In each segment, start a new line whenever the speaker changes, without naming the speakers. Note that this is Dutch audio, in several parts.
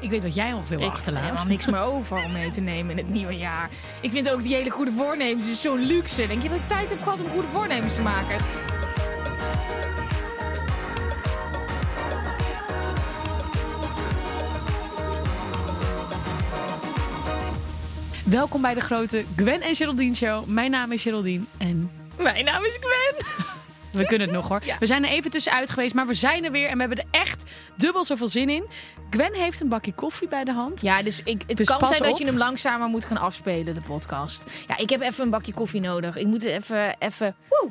Ik weet wat jij ongeveer wil
Ik heb helemaal
achterlaat.
niks meer over om mee te nemen in het nieuwe jaar. Ik vind ook die hele goede voornemens is zo'n luxe. Denk je dat ik tijd heb gehad om goede voornemens te maken?
Welkom bij de grote Gwen en Geraldine Show. Mijn naam is Geraldine en
Mijn naam is Gwen.
we kunnen het nog hoor.
Ja.
We zijn er even tussenuit geweest, maar we zijn er weer en we hebben er echt dubbel zoveel zin in. Gwen heeft een bakje koffie bij de hand.
Ja, dus ik, het
Dus
kan
pas
zijn
op.
dat je hem langzamer moet gaan afspelen, de podcast. Ja, ik heb even een bakje koffie nodig. Ik moet even, even, woe.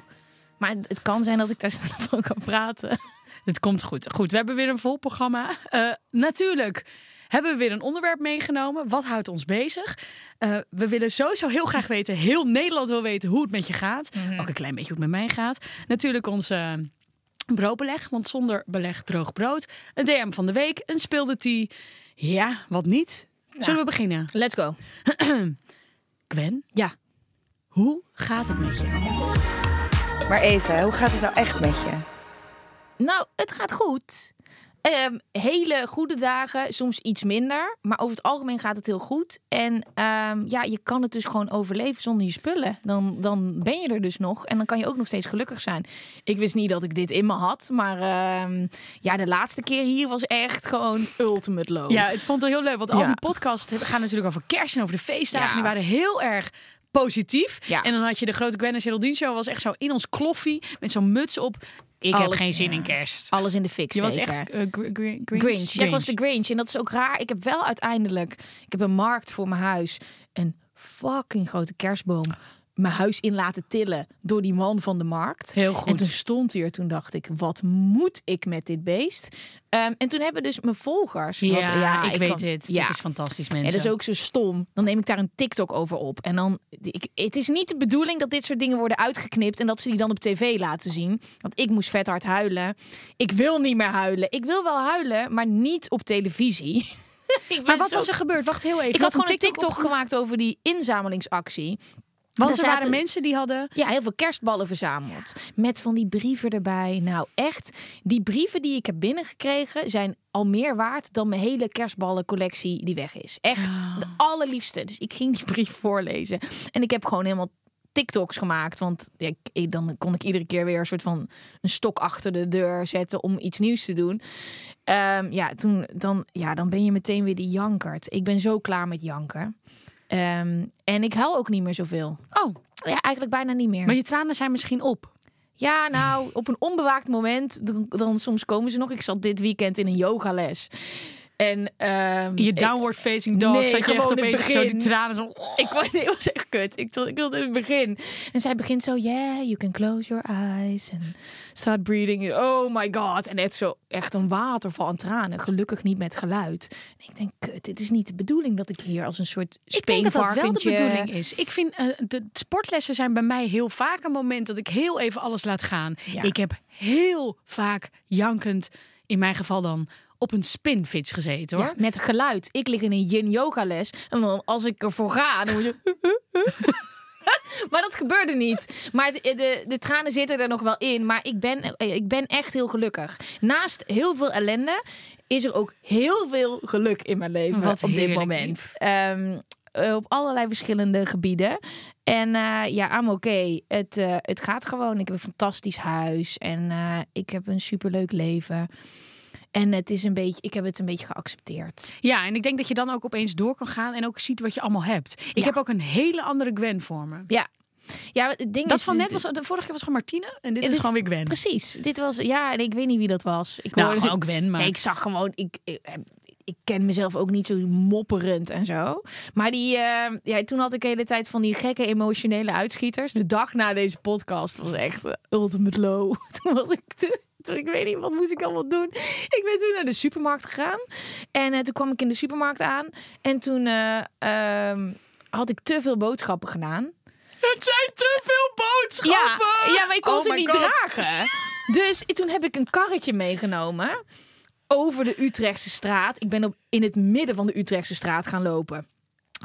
Maar het, het kan zijn dat ik daar snel van kan praten.
Het komt goed. Goed, we hebben weer een vol programma. Eh, natuurlijk hebben we weer een onderwerp meegenomen. Wat houdt ons bezig? Eh, we willen sowieso heel graag weten, heel Nederland wil weten hoe het met je gaat. Ook een klein beetje hoe het met mij gaat. Natuurlijk onze eh, broodbeleg, want zonder beleg droog brood. Een DM van de week, een speelde tea. Ja, wat niet? Zullen we beginnen?
Let's go.
Gwen,
Ja.
hoe gaat het met je?
Maar even, hoe gaat het nou echt met je?
Nou, het gaat goed. Ehm, hele goede dagen, soms iets minder. Maar over het algemeen gaat het heel goed. En ehm, ja, je kan het dus gewoon overleven zonder je spullen. Dan, dan ben je er dus nog. En dan kan je ook nog steeds gelukkig zijn. Ik wist niet dat ik dit in me had. Maar ehm, ja, de laatste keer hier was echt gewoon ultimate low.
Ja, ik vond het heel leuk, want al
Oh. Ja.
die podcasts hebben- gaan natuurlijk over kerst en over de feestdagen.
Ja.
Die waren heel erg positief.
Ja.
En dan had je de grote Gwen en Geraldine show, was echt zo in ons kloffie met zo'n muts op. Ik heb
Alles-
geen zin in kerst.
Alles in de fik
Je was
steken.
echt eh, gr- gr- Grinch.
Grinch. Ja, ik was de Grinch. En dat is ook raar. Ik heb wel uiteindelijk... Ik heb een markt voor mijn huis. Een fucking grote kerstboom. Mijn huis in laten tillen door die man van de markt.
Heel goed.
En toen stond hij er. Toen dacht ik, wat moet ik met dit beest? Ehm, en toen hebben dus mijn volgers...
Ja,
want,
ik, weet
kan-
het.
ja.
Dit is fantastisch, mensen.
Ja, dat is ook zo stom. Dan neem ik daar een TikTok over op. En dan, ik, het is niet de bedoeling dat dit soort dingen worden uitgeknipt en dat ze die dan op tv laten zien. Want ik moest vet hard huilen. Ik wil niet meer huilen. Ik wil wel huilen, maar niet op televisie. Ik
Maar
ben
wat
zo-
was er gebeurd? Wacht heel even.
Ik had
een
gewoon een TikTok,
opge-
gemaakt over die inzamelingsactie.
Want
Er
er waren
zaten-
mensen die hadden...
Ja, heel veel kerstballen verzameld. Met van die brieven erbij. Nou, echt. Die brieven die ik heb binnengekregen zijn al meer waard dan mijn hele kerstballencollectie die weg is. Echt. De allerliefste. Dus ik ging die brief voorlezen. En ik heb gewoon helemaal TikToks gemaakt. Want ja, ik- ik, dan kon ik iedere keer weer een soort van een stok achter de deur zetten om iets nieuws te doen. Ehm, ja, toen, dan, ja, dan ben je meteen weer die jankert. Ik ben zo klaar met janken. Ehm, en ik huil ook niet meer zoveel.
Oh,
Ja, eigenlijk bijna niet meer.
maar je tranen zijn misschien op.
Ja, nou, op een onbewaakt moment, dan, dan soms komen ze nog. Ik zat dit weekend in een yogales. En ehm,
Je
ik-
downward facing dog.
Nee,
zat je echt
gewoon het
opeens zo die
begin.
tranen zo...
Ik wou, nee, het was echt kut. Ik, zat- ik wilde in het begin. En zij begint zo, yeah, you can close your eyes. En start breathing. Oh my god. En echt zo, echt een waterval aan tranen. Gelukkig niet met geluid. En ik denk, kut, dit is niet de bedoeling dat ik hier als een soort
Ik denk dat dat wel de
speenvarkentje-
bedoeling is. Ik vind eh, de sportlessen zijn bij mij heel vaak een moment dat ik heel even alles laat gaan.
Ja.
Ik heb heel vaak jankend, in mijn geval dan, op een spinfiets gezeten hoor.
Ja, met geluid. Ik lig in een yin yoga les. En dan als ik ervoor ga, dan moet je... Maar dat gebeurde niet. Maar het- de, de tranen zitten er nog wel in. Maar ik ben, eh, ik ben echt heel gelukkig. Naast heel veel ellende is er ook heel veel geluk in mijn leven
Wat
op dit
heerlijk,
moment.
Iep.
Ehm, eh, op allerlei verschillende gebieden. En eh, ja, I'm okay. Het, eh, het gaat gewoon. Ik heb een fantastisch huis. En eh, ik heb een superleuk leven. En het is een beetje, ik heb het een beetje geaccepteerd.
Ja, en ik denk dat je dan ook opeens door kan gaan en ook ziet wat je allemaal hebt. Ik
Ja.
heb ook een hele andere Gwen voor me.
Ja. Ja, het ding
Dat
is,
van net was, de vorige keer was gewoon Martine en dit
Dit
is gewoon weer Gwen.
Precies. Dit was, ja, en ik weet niet wie dat was. Ik
Nou,
hoorde-
gewoon Gwen, maar-
Nee, ik zag gewoon, ik, ik, eh, ik ken mezelf ook niet zo mopperend en zo. Maar die, eh, ja, toen had ik de hele tijd van die gekke emotionele uitschieters. De dag na deze podcast was echt eh, ultimate low. Toen was ik te... Toen, ik weet niet, wat moest ik allemaal doen? Ik ben toen naar de supermarkt gegaan. En eh, toen kwam ik in de supermarkt aan. En toen eh, ehm, had ik te veel boodschappen gedaan.
Het zijn te veel
Ja,
boodschappen!
ja, maar ik kon
Oh
ze
my
niet
God.
dragen. Dus ik- toen heb ik een karretje meegenomen over de Utrechtse straat. Ik ben op, in het midden van de Utrechtse straat gaan lopen.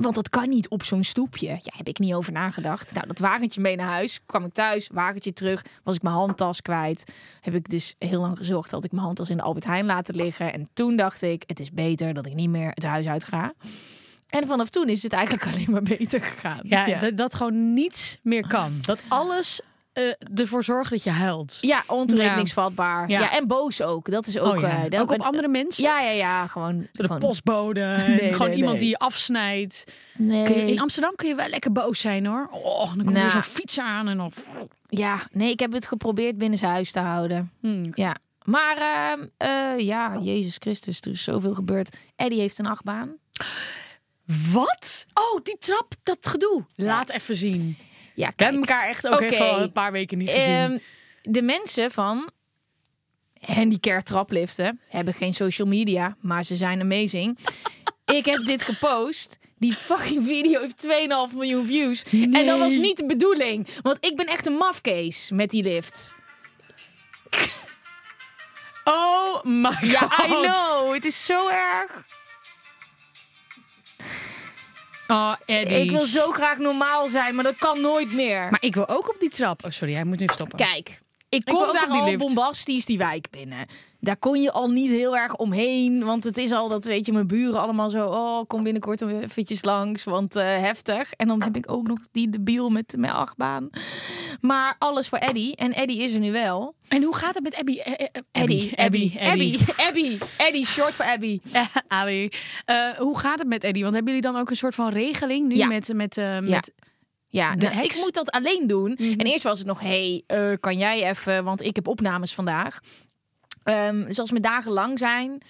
Want dat kan niet op zo'n stoepje. Ja, heb ik niet over nagedacht. Nou, dat wagentje mee naar huis. Kwam ik thuis, wagentje terug. Was ik mijn handtas kwijt. Heb ik dus heel lang gezorgd dat ik mijn handtas in de Albert Heijn laten liggen. En toen dacht ik, het is beter dat ik niet meer het huis uit ga. En vanaf toen is het eigenlijk alleen maar beter gegaan.
Ja, Dat, dat gewoon niets meer kan. Dat alles eh, ervoor zorgt dat je huilt.
Ja, ontoerekeningsvatbaar. Ja.
Ja.
en boos ook. Dat is ook...
Oh ja.
eh, dat-
Ook op andere mensen?
Ja, ja, ja. Gewoon...
De
gewoon-
postbode, en
Nee,
gewoon
nee,
iemand
nee.
die je afsnijdt.
Nee.
Kun je- in Amsterdam kun je wel lekker boos zijn hoor. Oh, dan komt
Nou.
er zo'n fiets aan en dan...
Ja, nee, ik heb het geprobeerd binnen zijn huis te houden.
Hmm.
Ja. Maar ehm, eh, ja, Jezus Christus, er is zoveel gebeurd. Eddie heeft een achtbaan.
Wat? Oh, die trap, dat gedoe. Laat even zien.
Ja, kijk.
We hebben elkaar echt ook
Oké.
even al een paar weken niet gezien.
Ehm, de mensen van handicare trapliften hebben geen social media, maar ze zijn amazing. ik heb dit gepost. Die fucking video heeft 2,5 miljoen views. En dat was niet de bedoeling. Want ik ben echt een mafkees met die lift.
oh my god.
Ja, I know. Het is zo erg.
Oh, Eddie.
Ik wil zo graag normaal zijn, maar dat kan nooit meer.
Maar ik wil ook op die trap. Oh, sorry, hij moet nu stoppen.
Kijk, ik
wil
kom
ook
daar
op die
al
lift.
bombastisch die wijk binnen. Daar kon je al niet heel erg omheen. Want het is al dat, weet je, mijn buren allemaal zo... Oh, kom binnenkort eventjes langs, want eh, heftig. En dan heb ik ook nog die debiel met mijn achtbaan. Maar alles voor Eddie. En Eddie is er nu wel.
En hoe gaat het met Abby? Eh, eh, eh,
Eddie, Abby, Abby,
Abby.
Abby. Eddie, short voor Abby.
Eh, Abby. Eh, hoe gaat het met Eddie? Want hebben jullie dan ook een soort van regeling nu
Ja.
met... met, eh, met...
Ja,
De
nou, ik
heks? Mhm.
moet dat alleen doen. En eerst was het nog, hey, eh, kan jij even, want ik heb opnames vandaag. Ehm, dus als mijn dagen lang zijn,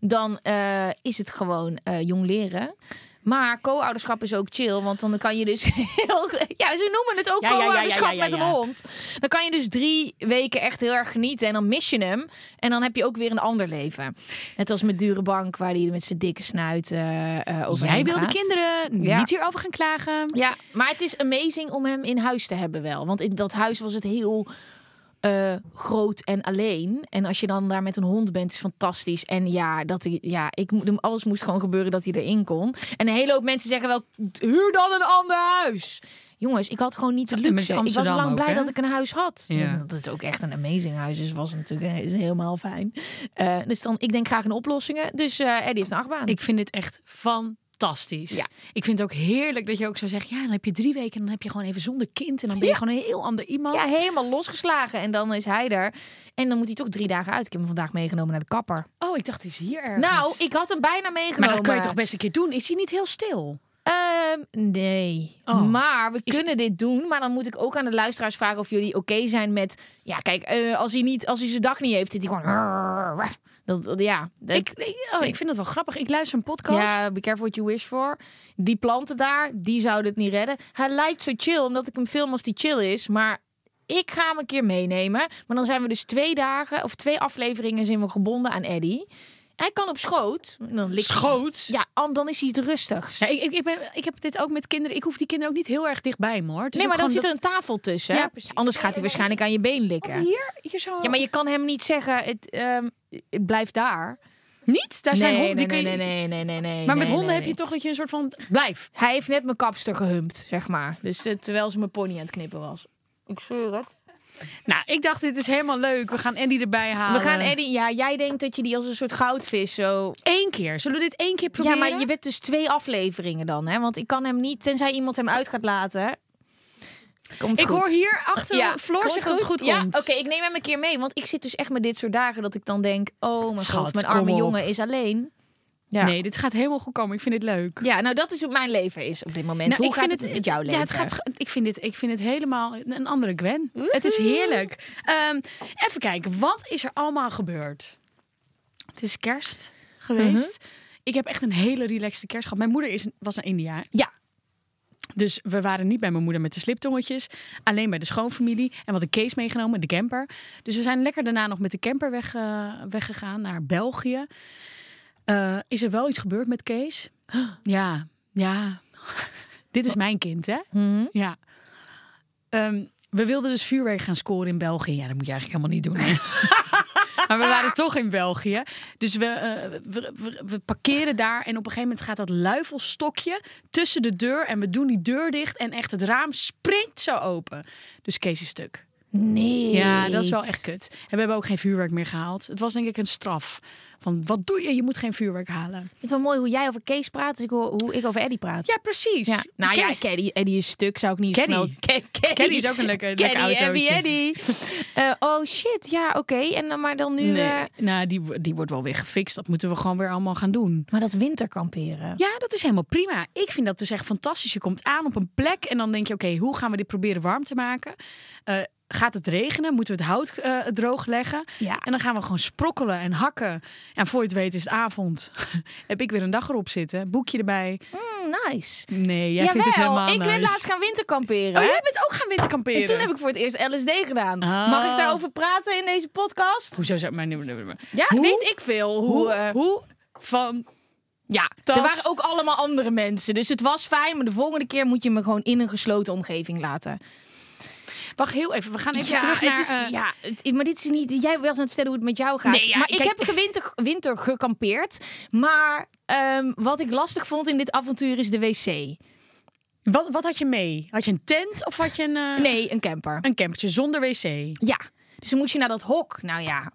dan eh, is het gewoon eh, jong leren. Maar co-ouderschap is ook chill, want dan kan je dus heel... Ja, ze noemen het ook
Ja, ja, ja, ja,
co-ouderschap
ja, ja,
met een
ja.
hond. Dan kan je dus drie weken echt heel erg genieten en dan mis je hem. En dan heb je ook weer een ander leven. Net als met Dure Bank, waar die met zijn dikke snuit eh eh, overheen
Jij wilde
gaat.
kinderen,
Ja.
niet hierover gaan klagen.
Ja, maar het is amazing om hem in huis te hebben wel. Want in dat huis was het heel eh, groot en alleen. En als je dan daar met een hond bent, is fantastisch. En ja, dat, hij- ja ik, mo- alles moest gewoon gebeuren dat hij erin kon. En een hele hoop mensen zeggen wel, huur dan een ander huis. Jongens, ik had gewoon niet de
Ja, en met
luxe. Ik was
Amsterdam
lang
ook,
blij
hè?
dat ik een huis had.
Ja.
Dat is ook echt een amazing huis. Dus was natuurlijk is helemaal fijn. Eh, dus dan, ik denk graag in oplossingen. Dus eh Eddie heeft een achtbaan.
Ik vind dit echt fantastisch.
Ja.
Ik vind het ook heerlijk dat je ook zou zeggen... ja, dan heb je drie weken en dan heb je gewoon even zonder kind... en dan ben je gewoon een heel ander iemand.
Ja, helemaal losgeslagen. En dan is hij er. En dan moet hij toch drie dagen uit. Ik heb hem vandaag meegenomen naar de kapper.
Oh, ik dacht, hij is hier ergens.
Nou, ik had hem bijna meegenomen.
Maar dat kan je toch best een keer doen? Is hij niet heel stil?
Ehm, nee.
Oh.
Maar we kunnen dit doen. Maar dan moet ik ook aan de luisteraars vragen of jullie oké zijn met... Ja, kijk, eh, als, hij niet, als hij zijn dag niet heeft, zit hij gewoon... Dat, dat- ja, dat-
Ik, ik- oh, ik vind dat wel grappig. Ik luister een podcast.
ja, be careful what you wish for. Die planten daar, die zouden het niet redden. Hij lijkt zo chill, omdat ik hem film als die chill is. Maar ik ga hem een keer meenemen. Maar dan zijn we dus twee dagen of twee afleveringen zijn we gebonden aan Eddie. Hij kan op schoot. En Dan ligt hij-
Schoot?
Ja, am- dan is hij het rustigst.
Ja, ik, ik, ik, ben, ik heb dit ook met kinderen. Ik hoef die kinderen ook niet heel erg dichtbij me hoor. Het is
nee, maar
ook
dan zit er
gewoon
een tafel tussen.
Ja, precies.
Anders gaat hij waarschijnlijk aan je been
dat-
likken.
Hier, hier zo.
Ja, maar je kan hem niet zeggen, het, ehm, het blijft daar.
Niet? Daar zijn
nee,
honden.
nee,
die kun
nee,
je-
nee, nee, nee, nee, nee.
Maar met
nee,
honden
nee,
heb je
nee.
toch dat je een soort van blijf.
Hij heeft net mijn kapster gehumpt, zeg maar. Dus eh, terwijl ze mijn pony aan het knippen was. Ik zweer het.
Nou, ik dacht dit is helemaal leuk. We gaan Andy erbij halen.
We gaan Eddie. Ja, jij denkt dat je die als een soort goudvis zo.
Eén keer. Zullen we dit één keer proberen?
Ja, maar je bent dus twee afleveringen dan, hè? Want ik kan hem niet, tenzij iemand hem uit gaat laten. Komt
Ik
goed.
hoor hier achter Floor
komt
zegt dat het goed
Ja,
komt.
oké, ik neem hem een keer mee, want ik zit dus echt met dit soort dagen dat ik dan denk: oh mijn
Schat,
god, mijn
kom
arme
op.
jongen is alleen. Ja.
Nee, dit gaat helemaal goed komen. Ik vind dit leuk.
ja, nou dat is hoe mijn leven is op dit moment.
Nou,
hoe gaat het, met jouw leven?
Ja, het gaat, ge- ik, vind dit, ik vind het helemaal een andere Gwen. Het is heerlijk. Ehm, even kijken, wat is er allemaal gebeurd? Het is kerst geweest.
Mhm.
Ik heb echt een hele relaxte kerst gehad. Mijn moeder is, was naar India.
Ja,
Dus we waren niet bij mijn moeder met de sliptongetjes. Alleen bij de schoonfamilie. En we hadden Kees meegenomen, de camper. Dus we zijn lekker daarna nog met de camper weg, eh, weggegaan naar België. Eh, is er wel iets gebeurd met Kees? Ja, ja. Dit is mijn kind, hè?
Mhm.
Ja. Ehm, we wilden dus vuurwerk gaan scoren in België. Ja, dat moet je eigenlijk helemaal niet doen. hè? Maar we waren toch in België. Dus we, eh, we, we, we parkeren daar. En op een gegeven moment gaat dat luifelstokje tussen de deur. En we doen die deur dicht. En echt het raam springt zo open. Dus Kees is stuk.
nee.
Ja, dat is wel echt kut. En we hebben ook geen vuurwerk meer gehaald. Het was denk ik een straf. Van wat doe je? Je moet geen vuurwerk halen.
Het is wel mooi hoe jij over Kees praat, dus ik hoor hoe ik over Eddie praat.
Ja, precies.
Ja. Nou
Ken-
ja, Caddy, Eddie is stuk, zou ik niet
Caddy.
snel... Ca- Caddy.
Caddy is ook een leuke- lekker
Caddy,
autootje.
Abby, Eddie. Eh, oh shit, ja, oké. En dan maar dan nu... eh,
Nee, nou, die, die wordt wel weer gefixt. Dat moeten we gewoon weer allemaal gaan doen.
Maar dat winterkamperen.
Ja, dat is helemaal prima. Ik vind dat dus echt fantastisch. Je komt aan op een plek en dan denk je: oké, hoe gaan we dit proberen warm te maken? Eh, gaat het regenen? Moeten we het hout eh, droog leggen?
Ja.
En dan gaan we gewoon sprokkelen en hakken. En voor je het weet is het avond. Heb ik weer een dag erop zitten. Boekje erbij.
Mm, nice.
Nee, jij
Jawel,
vindt het helemaal
ik ben
nice.
laatst gaan winterkamperen.
Oh,
hè?
jij bent ook gaan winterkamperen.
En toen heb ik voor het eerst LSD gedaan.
Ah.
Mag ik daarover praten in deze podcast?
Hoezo zou... Maar, maar, maar, maar.
Ja,
Hoe-
weet ik veel. Hoe,
Hoe,
eh,
hoe van...
ja,
tas-
er waren ook allemaal andere mensen. Dus het was fijn, maar de volgende keer moet je me gewoon in een gesloten omgeving laten.
Wacht heel even, we gaan even
ja,
terug
het
naar...
is,
eh,
ja, het- maar dit is niet. Jij wil aan het vertellen hoe het met jou gaat.
Nee, ja,
maar ik
kijk-
heb gewinter, winter gekampeerd. Maar ehm, wat ik lastig vond in dit avontuur is de wc.
wat, wat had je mee? Had je een tent of had je een, eh,
Nee, een camper.
een campertje zonder wc?
Ja. Dus dan moet je naar dat hok. Nou ja.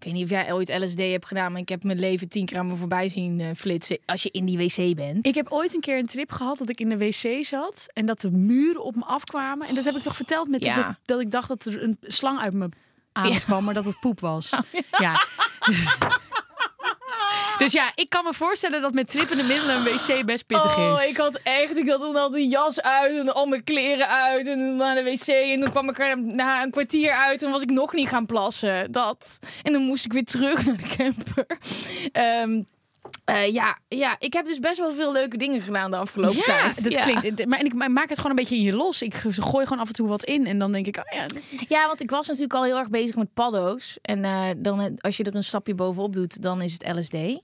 Ik weet niet of jij ooit LSD hebt gedaan, maar ik heb mijn leven tien keer aan me voorbij zien eh, flitsen als je in die wc bent.
Ik heb ooit een keer een trip gehad dat ik in de wc zat en dat de muren op me afkwamen. En dat heb ik toch verteld met
Ja.
dat, dat ik dacht dat er een slang uit mijn anus kwam, maar dat het poep was. Oh, Ja. Dus ja, ik kan me voorstellen dat met trippende middelen een wc best pittig
Oh,
is.
ik had echt, ik had dan altijd een jas uit en al mijn kleren uit en naar de wc. En dan kwam ik er na een kwartier uit en was ik nog niet gaan plassen. Dat. En dan moest ik weer terug naar de camper. Ehm, eh, ja, ja, ik heb dus best wel veel leuke dingen gedaan de afgelopen
ja,
tijd.
dat
Ja.
klinkt. Maar en ik maak het gewoon een beetje in je los. Ik gooi gewoon af en toe wat in en dan denk ik, oh ja, dit-
Ja, want ik was natuurlijk al heel erg bezig met paddo's. En eh, dan, eh, als je er een stapje bovenop doet, dan is het LSD. Ehm,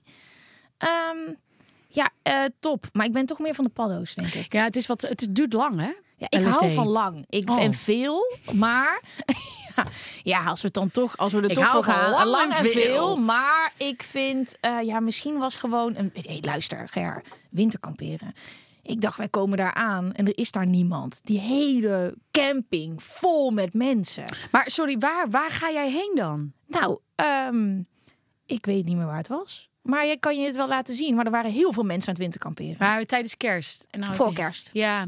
ja, eh, top. Maar ik ben toch meer van de paddo's, denk ik.
ja, het is wat, het duurt lang, hè?
Ja, ik
LSD.
hou van lang. Ik
Oh.
en veel, maar ja, ja, als we het dan toch, als we er
Ik
toch
hou
voor
van
gaan,
lang
lang
en
en veel.
veel.
Maar ik vind, eh, ja, misschien was gewoon een. Hey, luister, Ger, winterkamperen. Ik dacht, wij komen daar aan en er is daar niemand. Die hele camping vol met mensen.
Maar sorry, waar, waar ga jij heen dan?
Nou, ehm, ik weet niet meer waar het was. Maar je kan je het wel laten zien. Maar er waren heel veel mensen aan het winterkamperen.
Maar tijdens kerst. En nou,
Voor
het-
kerst.
Ja.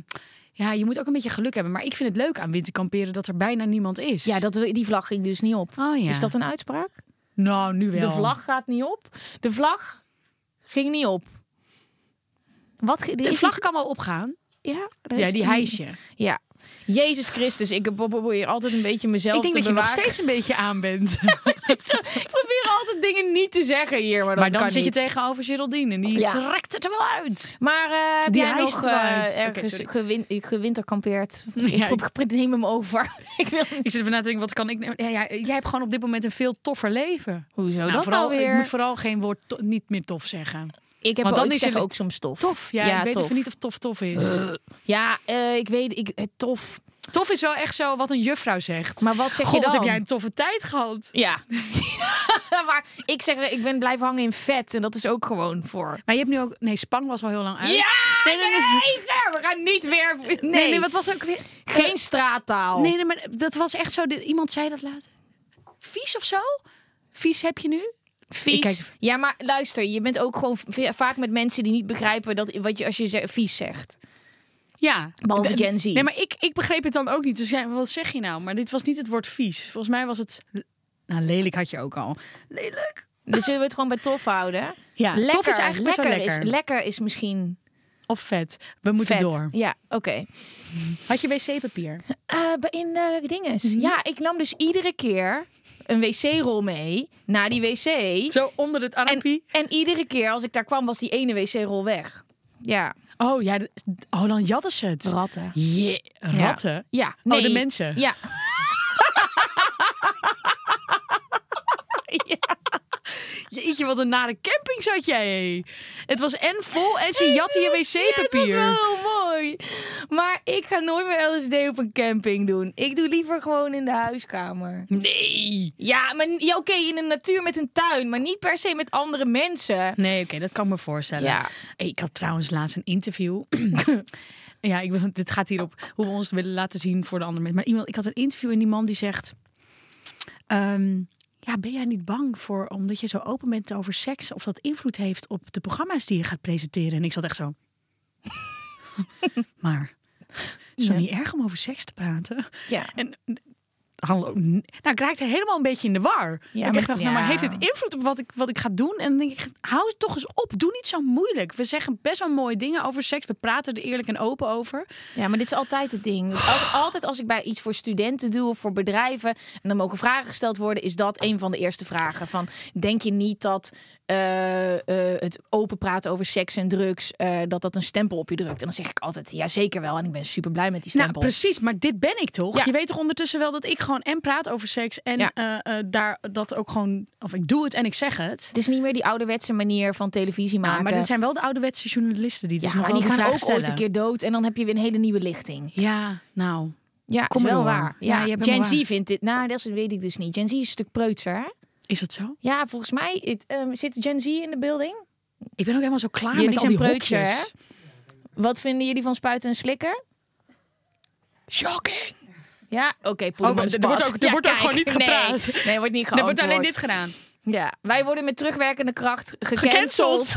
ja, je moet ook een beetje geluk hebben. Maar ik vind het leuk aan winterkamperen dat er bijna niemand is.
Ja, dat, die vlag ging dus niet op.
Oh, ja.
Is dat een uitspraak?
Nou, nu wel.
De vlag gaat niet op. De vlag ging niet op. Wat ge-
De
is
vlag
iets-
kan wel opgaan.
ja, er
Ja,
is
die
een-
hijsje.
Ja. Jezus Christus, ik probeer altijd een beetje mezelf
Ik denk
te
dat je nog
bewaken.
steeds een beetje aan bent.
Het is zo- ik probeer altijd dingen niet te zeggen hier, maar dat
maar dan
kan
zit
niet.
je tegenover Geraldine en die
Ja.
trekt het er wel uit.
Maar eh, heb
Die
jij
hijst
nog
het wel
eh,
uit. Oké,
ergens
sorry.
gewin- gewinterkampeerd?
Ja,
ik, pro- neem hem over. ik wil niet.
Ik zit ervan na te denken, wat kan ik... nou- Ja, ja, jij hebt gewoon op dit moment een veel toffer leven.
Hoezo
Nou,
dat
vooral,
nou weer?
Ik moet vooral geen woord to- niet meer tof zeggen.
Ik heb
Want
ook,
dan
ik
is
zeg
het-
ook soms tof.
Tof, ja. ik weet
tof.
even niet of tof tof is.
Ja, eh, ik weet, ik, eh, tof.
Tof is wel echt zo wat een juffrouw zegt.
Maar wat zeg je
God, wat
dan?
heb jij een toffe tijd gehad?
Ja. maar ik zeg, ik ben blijven hangen in vet. En dat is ook gewoon voor...
Maar je hebt nu ook... Nee, Spang was al heel lang uit.
nee, we gaan niet weer... Nee,
Nee, nee, wat was ook weer...
geen straattaal.
Nee, nee, maar dat was echt zo. dit- Iemand zei dat later. Vies of zo? Vies heb je nu?
vies.
Ik kijk-
Ja, maar luister, je bent ook gewoon v- vaak met mensen die niet begrijpen dat wat je als je ze- vies zegt.
Ja.
Behalve
De-
Gen Z.
Nee, maar ik, ik begreep het dan ook niet. Dus ja, wat zeg je nou? Maar dit was niet het woord vies. Volgens mij was het... Nou, lelijk had je ook al. Lelijk?
Dus zullen we het gewoon bij tof houden?
Ja, tof is eigenlijk best wel
lekker,
lekker.
Is, lekker is misschien
Of vet? We moeten
vet.
door.
Ja, oké.
Had je wc-papier?
Eh, bij- in eh dinges.
Mhm.
Ja, ik nam dus iedere keer een wc-rol mee naar die wc.
Zo onder het
En,
armpie?
en iedere keer als ik daar kwam, was die ene wc-rol weg. Ja,
Oh ja, d- oh, dan jatten ze het.
ratten.
Je- Ratten?
Ja.
Oh, de
nee.
mensen.
Ja.
Jeetje, wat een nare camping zat jij. Het was en vol en ze jatten je
Ja, dat
wc-papier.
was wel heel mooi. Maar ik ga nooit meer LSD op een camping doen. Ik doe liever gewoon in de huiskamer.
Nee.
Ja, maar ja, oké, in de natuur met een tuin, maar niet per se met andere mensen.
Nee, oké, dat kan ik me voorstellen.
eh, Ja.
Hey, Ik had trouwens laatst een interview. ja, ik, wil- dit gaat hierop hoe we ons willen laten zien voor de andere mensen. Maar iemand, ik had een interview en die man die zegt... ehm, ja, ben jij niet bang voor, omdat je zo open bent over seks... of dat invloed heeft op de programma's die je gaat presenteren? En ik zat echt zo... maar het is toch niet erg om over seks te praten?
Ja.
En hallo, n- nou, ik raakte helemaal een beetje in de war.
Ja,
ik
maar-
dacht, nou, maar
ja.
heeft dit invloed op wat ik, wat ik ga doen? En dan denk ik, hou het toch eens op. Doe niet zo moeilijk. We zeggen best wel mooie dingen over seks. We praten er eerlijk en open over. Nou,
Ja, maar dit is altijd het ding. Altijd, altijd als ik bij iets voor studenten doe of voor bedrijven en dan mogen vragen gesteld worden, is dat een van de eerste vragen. Van denk je niet dat eh, eh, het open praten over seks en drugs eh, dat dat een stempel op je drukt? En dan zeg ik altijd ja, zeker wel. En ik ben super blij met die
Nou,
stempel.
precies. Maar dit ben ik toch?
Ja.
Je weet toch ondertussen wel dat ik gewoon en praat over seks. En
Ja.
eh, eh, daar dat ook gewoon... Of ik doe het en ik zeg het.
Het is niet meer die ouderwetse manier van televisie maken.
Ja, Nou, maar dit zijn wel de ouderwetse journalisten die dus
ja,
nog
maar
wel
die
de
gaan
vraag
ook
stellen.
ooit een keer dood en dan heb je weer een hele nieuwe lichting.
Ja, nou...
Ja,
Kom
is
maar
wel
door.
waar.
Ja,
Ja,
je hebt
Gen
helemaal
Z vindt dit. Nou, dat weet ik dus niet. Gen Z is een stuk preutser. Hè?
Is dat zo?
Ja, volgens mij het, ehm, zit Gen Z in de building.
Ik ben ook helemaal zo klaar
Jullie
met al
zijn
die
preutser,
hokjes.
hè? Wat vinden jullie van spuiten en slikker? Shocking. Ja, oké. poeder
Oh,
maar
er
spat.
wordt ook- er
Ja,
wordt ook
kijk,
gewoon niet gepraat.
Nee, nee wordt niet geantwoord.
Er wordt alleen dit gedaan.
Ja, wij worden met terugwerkende kracht gecanceld.
Gecanceld.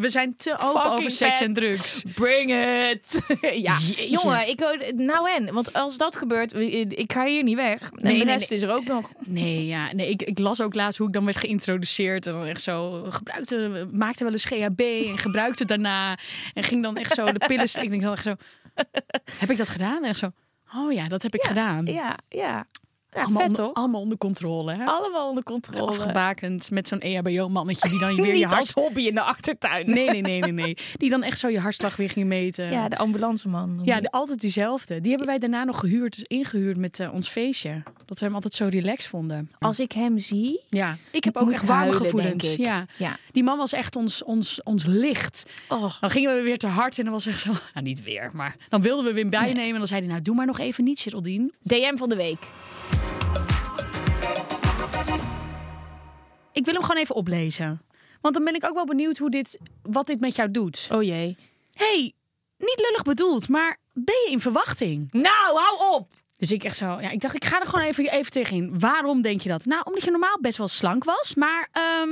We zijn te open
Fucking
over seks
vet.
en drugs.
Bring it! ja,
Jeetje.
jongen, ik, nou en, want als dat gebeurt, ik ga hier niet weg. En
Nee,
de
nee, Mm.
rest is er ook nog.
Nee, ja, nee ik, ik las ook laatst hoe ik dan werd geïntroduceerd. En dan echt zo gebruikte, maakte wel eens GHB en gebruikte daarna. En ging dan echt zo de pillen. st- Ik denk dan echt zo, heb ik dat gedaan? En echt zo, oh ja, dat heb ik gedaan.
Ja, ja. ja
allemaal,
vet
onder,
toch?
allemaal onder controle. Hè?
Allemaal onder controle.
Afgebakend met zo'n E EHBO-mannetje die dan weer je
Niet als
hart...
hobby in de achtertuin.
Nee, nee, nee, nee, nee. Die dan echt zo je hartslag weer ging meten.
Ja, de ambulanceman.
Ja, de- altijd diezelfde. Die hebben wij daarna nog gehuurd, dus ingehuurd met eh, ons feestje. Dat we hem altijd zo relaxed vonden.
Als ik hem zie...
Ja, ik heb ook
Moet
echt warme
huilen,
gevoelens.
denk ik.
Ja.
Ja.
Die man was echt ons, ons, ons licht.
Oh.
Dan gingen we weer te hard en dan was echt zo. Nou, niet weer, maar dan wilden we Wim bijnemen. En dan zei hij: Nou, doe maar nog even niet, Geraldine.
DM van de week.
Ik wil hem gewoon even oplezen. Want dan ben ik ook wel benieuwd hoe dit, wat dit met jou doet.
Oh jee.
hey, niet lullig bedoeld, maar ben je in verwachting?
Nou, hou op!
Dus ik echt zo, ja, ik dacht, ik ga er gewoon even, even tegenin. Waarom denk je dat? Nou, omdat je normaal best wel slank was, maar ehm,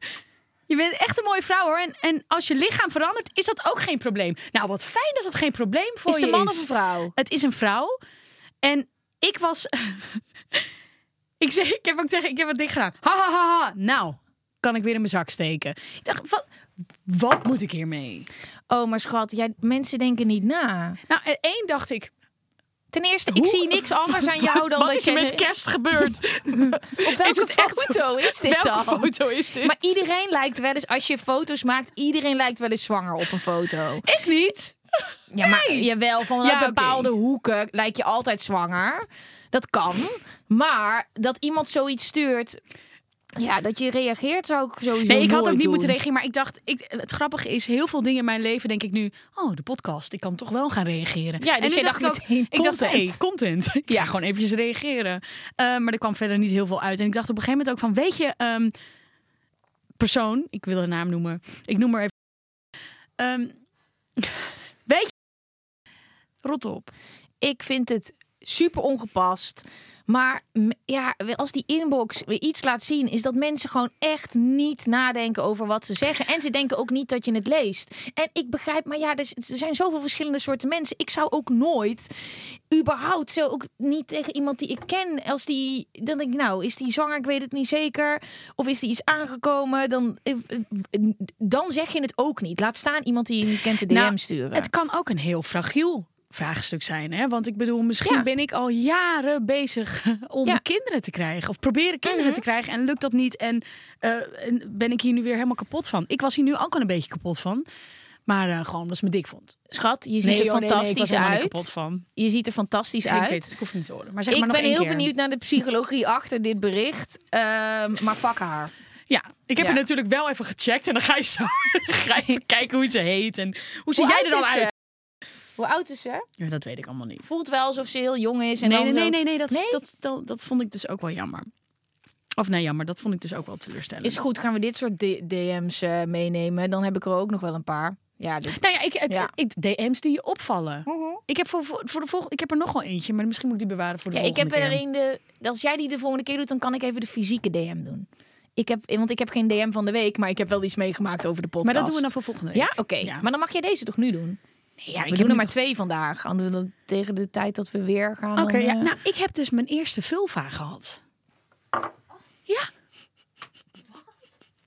je bent echt een mooie vrouw hoor. En, en als je lichaam verandert, is dat ook geen probleem. Nou, wat fijn dat het geen probleem voor
Is
je
de
is.
man of een vrouw?
Het is een vrouw. En ik was, ik zei, ik heb ook tegen, ik heb het dicht gedaan. Ha, ha, ha, ha. Nou, kan ik weer in mijn zak steken. Ik dacht, wat, wat moet ik hiermee?
Oh, maar schat, jij, mensen denken niet na.
Nou, en één dacht ik,
Ten eerste, ik zie niks anders aan jou dan
wat
dat
is
je...
er met kerst gebeurd?
Op
Is
welke
het echt zo?
foto is dit
Welke
dan?
foto is dit?
Maar iedereen lijkt wel eens, als je foto's maakt, iedereen lijkt wel eens zwanger op een foto.
ik niet.
Ja, maar jawel, vanuit
Ja, oké.
bepaalde hoeken lijk je altijd zwanger. Dat kan. Maar dat iemand zoiets stuurt. Ja, dat je reageert zou ik sowieso
Nee, ik had ook
nooit
niet
doen.
moeten reageren, maar ik dacht, ik, het grappige is, heel veel dingen in mijn leven denk ik nu, oh, de podcast, ik kan toch wel gaan reageren.
Ja, dus
nu
jij dacht
ik ook-
meteen,
ik dacht, hey,
content.
content. Ik ja, gewoon eventjes reageren. Eh, maar er kwam verder niet heel veel uit. En ik dacht op een gegeven moment ook van, weet je, ehm, persoon, ik wil haar naam noemen, ik noem maar even. Ehm, weet je, rot op.
Ik vind het super ongepast. Maar m- ja, als die inbox weer iets laat zien, is dat mensen gewoon echt niet nadenken over wat ze zeggen. En ze denken ook niet dat je het leest. En ik begrijp, maar ja, er z- er zijn zoveel verschillende soorten mensen. Ik zou ook nooit, überhaupt, zo ook niet tegen iemand die ik ken, als die, dan denk ik, nou, is die zwanger? Ik weet het niet zeker. Of is die iets aangekomen? Dan, eh, eh, dan zeg je het ook niet. Laat staan iemand die je niet kent de DM
Nou,
sturen.
Het kan ook een heel fragiel vraagstuk zijn. Hè? Want ik bedoel, misschien
Ja.
ben ik al jaren bezig om
Ja. Mhm.
kinderen te krijgen. Of proberen kinderen te krijgen en lukt dat niet. En, eh, en ben ik hier nu weer helemaal kapot van. Ik was hier nu ook al een beetje kapot van. Maar eh, gewoon omdat ze me dik vond.
Schat, je ziet
Nee,
er
joh, nee, nee, ik was
fantastisch
helemaal niet
uit.
kapot van.
Je ziet er fantastisch
Ik
uit.
weet het, ik hoef het niet te horen. Maar zeg
ik
maar nog
ben
één
heel
keer.
benieuwd naar de psychologie achter dit bericht. Ehm, maar fuck haar.
Ja, ik heb
Ja.
het natuurlijk wel even gecheckt. En dan ga je zo ga je even kijken hoe ze heet. En hoe zie
Hoe
jij
oud
er dan
is ze?
uit?
Hoe oud is ze?
Ja, dat weet ik allemaal niet.
Voelt wel alsof ze heel jong is. En
Nee,
dan
nee,
zo-
nee, nee, nee, dat,
Nee?
Dat, dat, dat vond ik dus ook wel jammer. Of nee, jammer, dat vond ik dus ook wel teleurstellend.
Is goed, gaan we dit soort D- DM's eh, meenemen. Dan heb ik er ook nog wel een paar. Ja, dit...
Nou ja, ik, het-
Ja. Mhm.
ik- DM's die je opvallen. Ik heb voor, voor voor de volgende, ik heb er nog wel eentje, maar misschien moet ik die bewaren voor de
ja ik
volgende
heb er
keer.
alleen de... Als jij die de volgende keer doet, dan kan ik even de fysieke DM doen. Ik heb, want ik heb geen DM van de week, maar ik heb wel iets meegemaakt over de podcast.
Maar dat doen we dan voor volgende week.
Ja, oké.
Ja.
Maar dan mag jij deze toch nu doen?
Nee, ja, ik
we
heb
doen er
niet-
maar twee vandaag. Anders dan tegen de tijd dat we weer gaan.
Oké,
dan,
ja.
eh,
Nou, ik heb dus mijn eerste vulva gehad. Ja.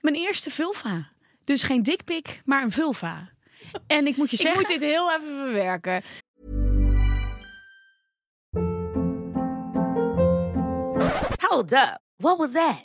Mijn eerste vulva. Dus geen dikpik, maar een vulva. En ik moet je zeggen...
Ik moet dit heel even verwerken.
Hold up. What was that?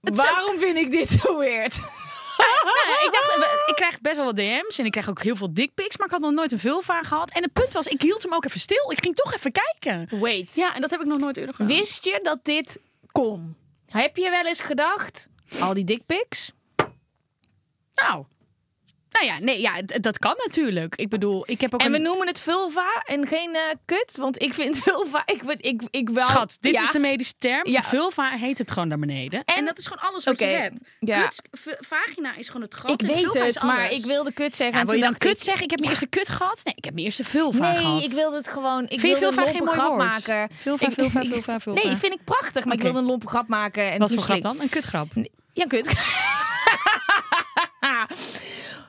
Waarom vind ik dit zo weird?
Nou ja, ik dacht, we- ik krijg best wel wat DM's en ik krijg ook heel veel dickpics, maar ik had nog nooit een vulva gehad. En het punt was, ik hield hem ook even stil. Ik ging toch even kijken.
Wait.
Ja, en dat heb ik nog nooit eerder gedaan.
Wist je dat dit kon? Heb je wel eens gedacht? Al die dickpics?
Nou, nou ja, nee, ja, d- dat kan natuurlijk. Ik bedoel, ik heb ook
En we
een...
noemen het vulva en geen eh, kut, want ik vind vulva. Ik, word- ik, ik wel.
Schat, dit
Ja.
is de medische term.
Ja.
Vulva heet het gewoon naar beneden. En, dat is gewoon alles wat
Oké,
je hebt.
ja.
Kut, v- vagina is gewoon het gat.
Ik
en
weet
vulva is
het, maar
alles.
ik wilde kut zeggen.
Ja,
en
wil je
toen
dan
dacht
kut zeggen? Ik heb mijn eerste kut gehad. Nee, ik heb mijn eerste
ik,
vulva
Nee,
gehad.
ik wilde het gewoon. Ik
Vind je
wilde een
vulva
lompe
geen mooi
grap
woord?
maken.
Vulva,
Ik-
vulva,
ik-
vulva, vulva.
Nee, vind ik prachtig, maar ik
Oké.
wilde een lompe grap maken. En
Wat
toen
voor grap
slik-
dan? Een kutgrap.
Ja, kut.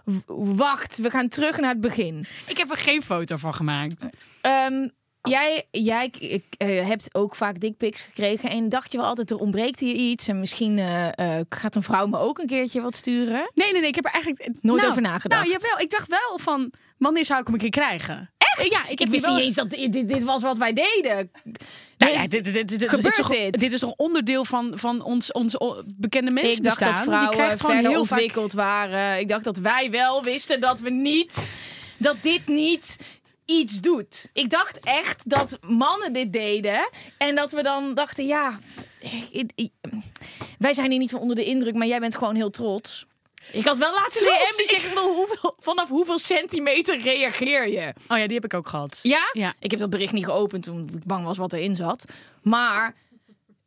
W- Wacht, we gaan terug naar het begin.
Ik heb er geen foto van gemaakt.
Ehm, jij jij ik, ik, eh, hebt ook vaak dickpics gekregen. En dacht je wel altijd, er ontbreekt hier iets. En misschien eh, eh, gaat een vrouw me ook een keertje wat sturen.
Nee, nee, nee. Ik heb er eigenlijk
Nooit
Nou,
over nagedacht.
Nou, jawel. Ik dacht wel van, wanneer zou ik hem een keer krijgen? Echt? Ja, ik, heb hier wel...
dat dit, dit- dit was wat wij deden.
Nou ja, dit, dit, dit, dit, is-
Gebeurt
is toch,
dit?
dit is toch onderdeel van, van ons, ons o- bekende
Ik dacht
mensenbestaan?
dat
Die
vrouwen
krijgt gewoon
verder
heel vaak...
ontwikkeld waren. Ik dacht dat wij wel wisten dat we niet... Dat dit niet iets doet. Ik dacht echt dat mannen dit deden. En dat we dan dachten, ja... ik- ik- Wij zijn hier niet van onder de indruk, maar jij bent gewoon heel trots. Ik had wel laatst een DM die zegt, "Wel, hoeveel- vanaf hoeveel centimeter reageer je?
Oh ja, die heb ik ook gehad.
Ja?
Ja.
Ik heb dat bericht niet geopend omdat ik bang was wat erin zat. Maar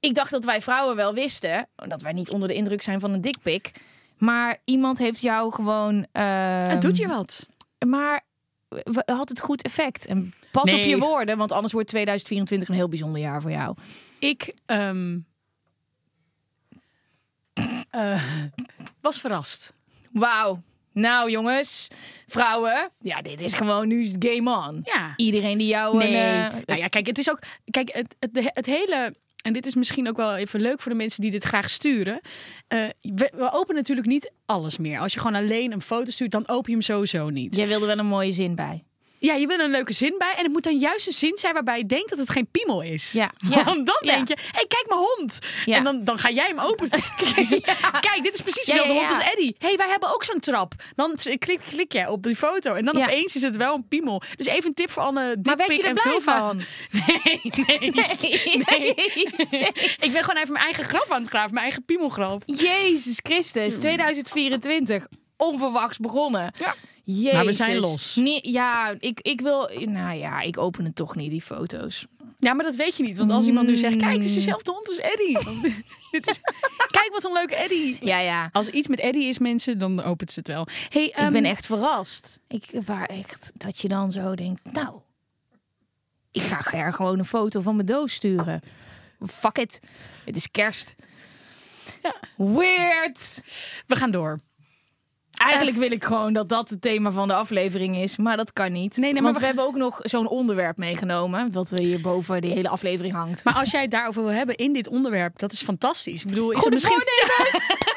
ik dacht dat wij vrouwen wel wisten dat wij niet onder de indruk zijn van een dikpik. Maar iemand heeft jou gewoon. eh,
Het doet je wat.
Maar w- had het goed effect? En pas op
Nee.
je woorden, want anders wordt 2024 een heel bijzonder jaar voor jou.
Ik ehm, eh, was verrast.
Wauw. Nou jongens, vrouwen, ja, dit is gewoon nu is het game on.
Ja.
Iedereen die jou een. eh,
nou ja, kijk, het is ook. Kijk, het, het, het hele en dit is misschien ook wel even leuk voor de mensen die dit graag sturen. Eh, we, we openen natuurlijk niet alles meer. Als je gewoon alleen een foto stuurt, dan open je hem sowieso niet.
Jij wilde wel een mooie zin bij.
Ja, je wil een leuke zin bij. En het moet dan juist een zin zijn waarbij je denkt dat het geen piemel is.
Ja.
Want
Ja.
dan
Ja.
denk je, hé, hey, kijk mijn hond.
Ja.
En dan, dan ga jij hem open. Kijk, dit is precies
Ja,
dezelfde
ja,
hond
ja.
als Eddie. Hé, hey, wij hebben ook zo'n trap. Dan tr- klik, klik jij op die foto. En dan
Ja.
opeens is het wel een piemel. Dus even een tip voor alle
Maar werd
dikpik
je er
en
blij
vulva.
van?
Nee, nee.
Nee.
Ik ben gewoon even mijn eigen graf aan het graven. Mijn eigen piemelgraf.
Jezus
Hmm.
Christus, 2024. Onverwachts begonnen. Ja. Jezus.
Maar we zijn los.
Nee, ja, ik, ik wil... Nou ja, ik open het toch niet, die foto's.
Ja, maar dat weet je niet. Want als iemand nu zegt, kijk, dit is dezelfde hond als Eddie. Dan- dit is- kijk, wat een leuke Eddie.
Ja, ja.
Als iets met Eddie is, mensen, dan opent ze het wel. Hey,
Ik
ehm,
ben echt verrast. Ik, waar echt dat je dan zo denkt, nou, ik ga Ger gewoon een foto van mijn doos sturen. Fuck it. Het is kerst.
Ja.
Weird.
We gaan door.
Eigenlijk wil ik gewoon dat dat het thema van de aflevering is, maar dat kan niet.
nee, maar
Want
we
we,
gaan-
hebben ook nog zo'n onderwerp meegenomen, wat hier boven die hele aflevering hangt.
Maar als jij het daarover wil hebben in dit onderwerp, dat is fantastisch. Ik bedoel, is er
Goede
misschien...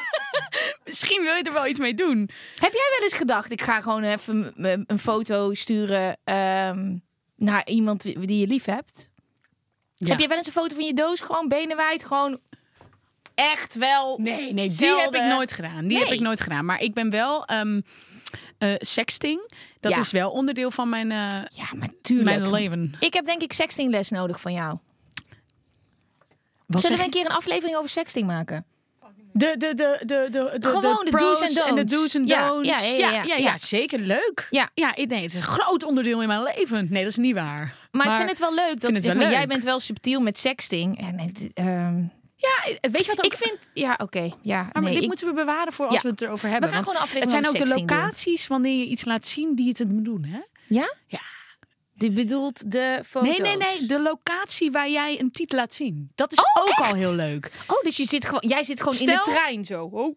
misschien wil je er wel iets mee doen.
Heb jij wel eens gedacht, ik ga gewoon even m- m- een foto sturen ehm, naar iemand die je lief hebt?
Ja.
Heb jij wel eens een foto van je doos gewoon benen wijd? Gewoon echt wel.
Nee, nee, die
zelden-
heb ik nooit gedaan. Die heb
Nee.
ik nooit gedaan. Maar ik ben wel ehm, eh, sexting. Dat
Ja.
is wel onderdeel van mijn, eh,
Ja, maar tuurlijk.
mijn leven.
Ik heb denk ik sextingles nodig van jou.
Wat
Zullen
zeg
we een keer een aflevering over sexting maken?
De, de, de, de, de, de,
Gewoon de
pros
do's en
En de
don'ts.
do's en
Ja,
don'ts.
ja, ja, ja, ja, ja.
zeker leuk.
Ja.
ja, ik- nee, het is een groot onderdeel in mijn leven. Nee, dat is niet waar.
Maar, ik vind het wel leuk dat
vind het
zeg
wel
maar, jij
leuk.
bent wel subtiel met sexting. En het, ehm,
Ja, weet je wat ook...
ik vind, ja, oké, ja.
Ah, Maar
nee,
dit
ik-
moeten we bewaren voor als
Ja.
we het erover hebben.
We gaan
want
gewoon een
het zijn
aflevering
ook de
over 16 doen.
locaties wanneer je iets laat zien die het moet doen, hè?
ja,
Ja.
Die bedoelt de foto's.
Nee, nee, nee. De locatie waar jij een titel laat zien. Dat is
Oh,
ook
echt?
al heel leuk.
Oh, dus je zit gewoon, jij zit gewoon in
Stel-
de trein zo. Oh.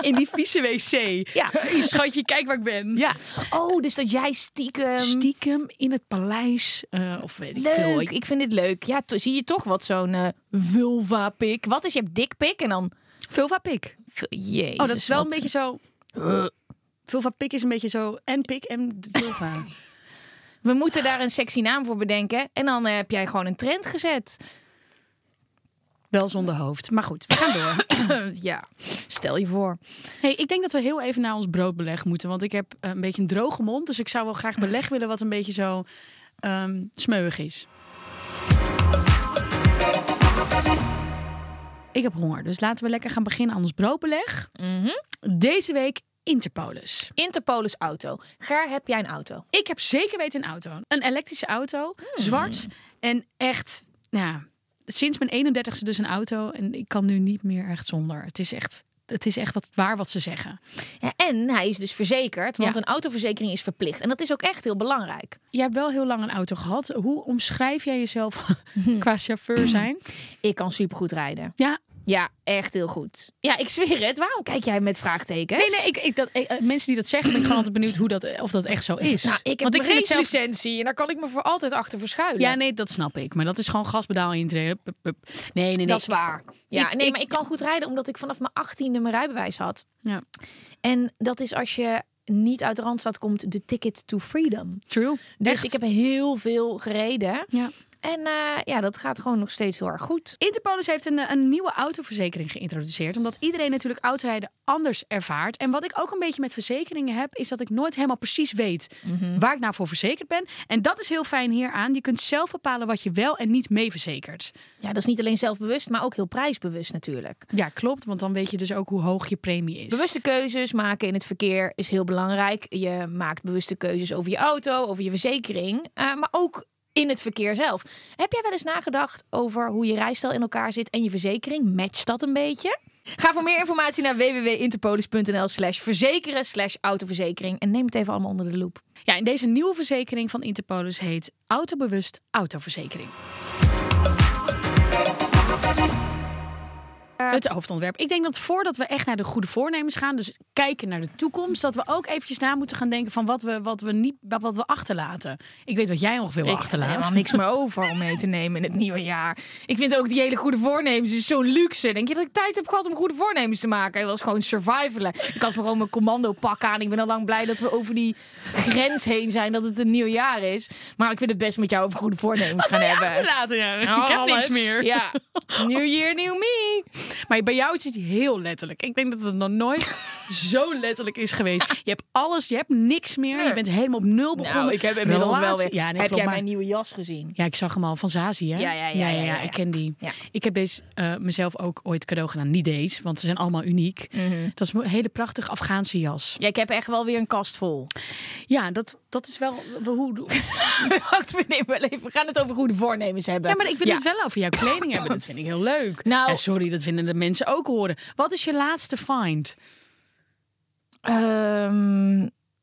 In die vieze wc.
Ja.
Schatje, kijk waar ik ben. Ehm,
Ja. Oh, dus dat jij stiekem.
Stiekem in het paleis. eh, of weet ik veel.
Leuk, ik vind dit leuk. Ja, to- zie je toch wat zo'n eh vulva-pik. Wat is je hebt dikpik en dan...
Vulva pik.
v- Jezus,
Oh, dat is wel
wat-
een beetje zo... eh, Vulva pik is een beetje zo en pik en vulva.
We moeten daar een sexy naam voor bedenken. En dan eh, heb jij gewoon een trend gezet.
wel zonder hoofd. Maar goed, we gaan door.
ja, stel je voor.
Hey, ik denk dat we heel even naar ons broodbeleg moeten. Want ik heb eh, een beetje een droge mond. Dus ik zou wel graag beleg willen wat een beetje zo ehm smeuig is. Ik heb honger. Dus laten we lekker gaan beginnen aan ons broodbeleg. Deze week Interpolis.
Interpolis auto. Ger, heb jij een auto?
Ik heb zeker weten een auto. Een elektrische auto.
Hmm.
Zwart. En echt, ja, sinds mijn 31ste dus een auto. En ik kan nu niet meer echt zonder. Het is echt... Het is echt wat, waar wat ze zeggen.
Ja, en hij is dus verzekerd, want
Ja.
een autoverzekering is verplicht. En dat is ook echt heel belangrijk.
Jij hebt wel heel lang een auto gehad. Hoe omschrijf jij jezelf qua chauffeur zijn?
Ik kan supergoed rijden.
Ja,
Ja, echt heel goed. Ja, ik zweer het. Waarom kijk jij met vraagtekens?
nee, nee. Ik, ik, dat, eh, eh, mensen die dat zeggen, ben ik gewoon altijd benieuwd hoe dat, eh, of dat echt zo is.
Nou, ik heb
Want ik
een
vind het zelf...
race-licentie en daar kan ik me voor altijd achter verschuilen.
Ja, nee, dat snap ik. Maar dat is gewoon gaspedaal intreden. Hup, hup, hup. Nee, nee, nee.
Dat is waar. Ja,
Ik-
nee,
ik-
maar ik kan goed rijden omdat ik vanaf mijn achttiende mijn rijbewijs had.
Ja.
En dat is als je niet uit de Randstad komt, de ticket to freedom.
True.
Dus
Echt?
ik heb heel veel gereden.
Ja.
En eh, ja, dat gaat gewoon nog steeds heel erg goed.
Interpolis heeft een, eh, een nieuwe autoverzekering geïntroduceerd. Omdat iedereen natuurlijk autorijden anders ervaart. En wat ik ook een beetje met verzekeringen heb, is dat ik nooit helemaal precies weet waar ik nou voor verzekerd ben. En dat is heel fijn hieraan. Je kunt zelf bepalen wat je wel en niet mee verzekert.
Ja, dat is niet alleen zelfbewust, maar ook heel prijsbewust natuurlijk.
Ja, klopt. Want dan weet je dus ook hoe hoog je premie is.
Bewuste keuzes maken in het verkeer is heel belangrijk. Je maakt bewuste keuzes over je auto, over je verzekering, eh, maar ook in het verkeer zelf. Heb jij wel eens nagedacht over hoe je rijstijl in elkaar zit en je verzekering? Matcht dat een beetje? Ga voor meer informatie naar www.interpolis.nl slash verzekeren slash autoverzekering en neem het even allemaal onder de loep.
Ja, en deze nieuwe verzekering van Interpolis heet Autobewust Autoverzekering.
Eh,
hoofdonderwerp.
Het hoofdonderwerp. Ik denk dat voordat we echt naar de goede voornemens gaan, dus kijken naar de toekomst, dat we ook eventjes na moeten gaan denken van wat we, wat we, niet, wat we achterlaten. Ik weet wat jij ongeveer wil
Ik heb er
achterlaten.
helemaal niks meer over om mee te nemen in het nieuwe jaar. Ik vind ook die hele goede voornemens is zo'n luxe. Denk je dat ik tijd heb gehad om goede voornemens te maken? Dat was gewoon survivalen. Ik had gewoon mijn commando pak aan. Ik ben al lang blij dat we over die grens heen zijn dat het een nieuw jaar is. Maar ik wil het best met jou over goede voornemens gaan hebben. Nou,
achterlaten, ja. ik heb niks
Alles.
meer.
Ja. New year, new me.
Maar bij jou is het heel letterlijk. Ik denk dat het nog nooit zo letterlijk is geweest. Je hebt alles, je hebt niks meer. Je bent helemaal op nul begonnen.
Nou, ik heb inmiddels wel
Relatie-
weer.
Ja, nee,
heb
klopt,
jij
maar-
mijn nieuwe jas gezien?
Ja, ik zag hem al van Zazie, hè?
Ja, ja, ja, ja, ja, ja.
ik ken die.
Ja.
Ik heb deze eh, mezelf ook ooit cadeau gedaan. Niet deze, want ze zijn allemaal uniek.
Mhm.
Dat is een hele prachtige Afghaanse jas.
Ja, ik heb echt wel weer een kast vol.
Ja, dat, dat is wel hoe...
Wacht, we nemen wel even. We gaan het over goede voornemens hebben.
Ja, maar ik wil het wel over jouw kleding hebben. Dat vind ik heel leuk.
Nou-
Ja, sorry, dat vinden de mensen ook horen. Wat is je laatste find?
Ehm,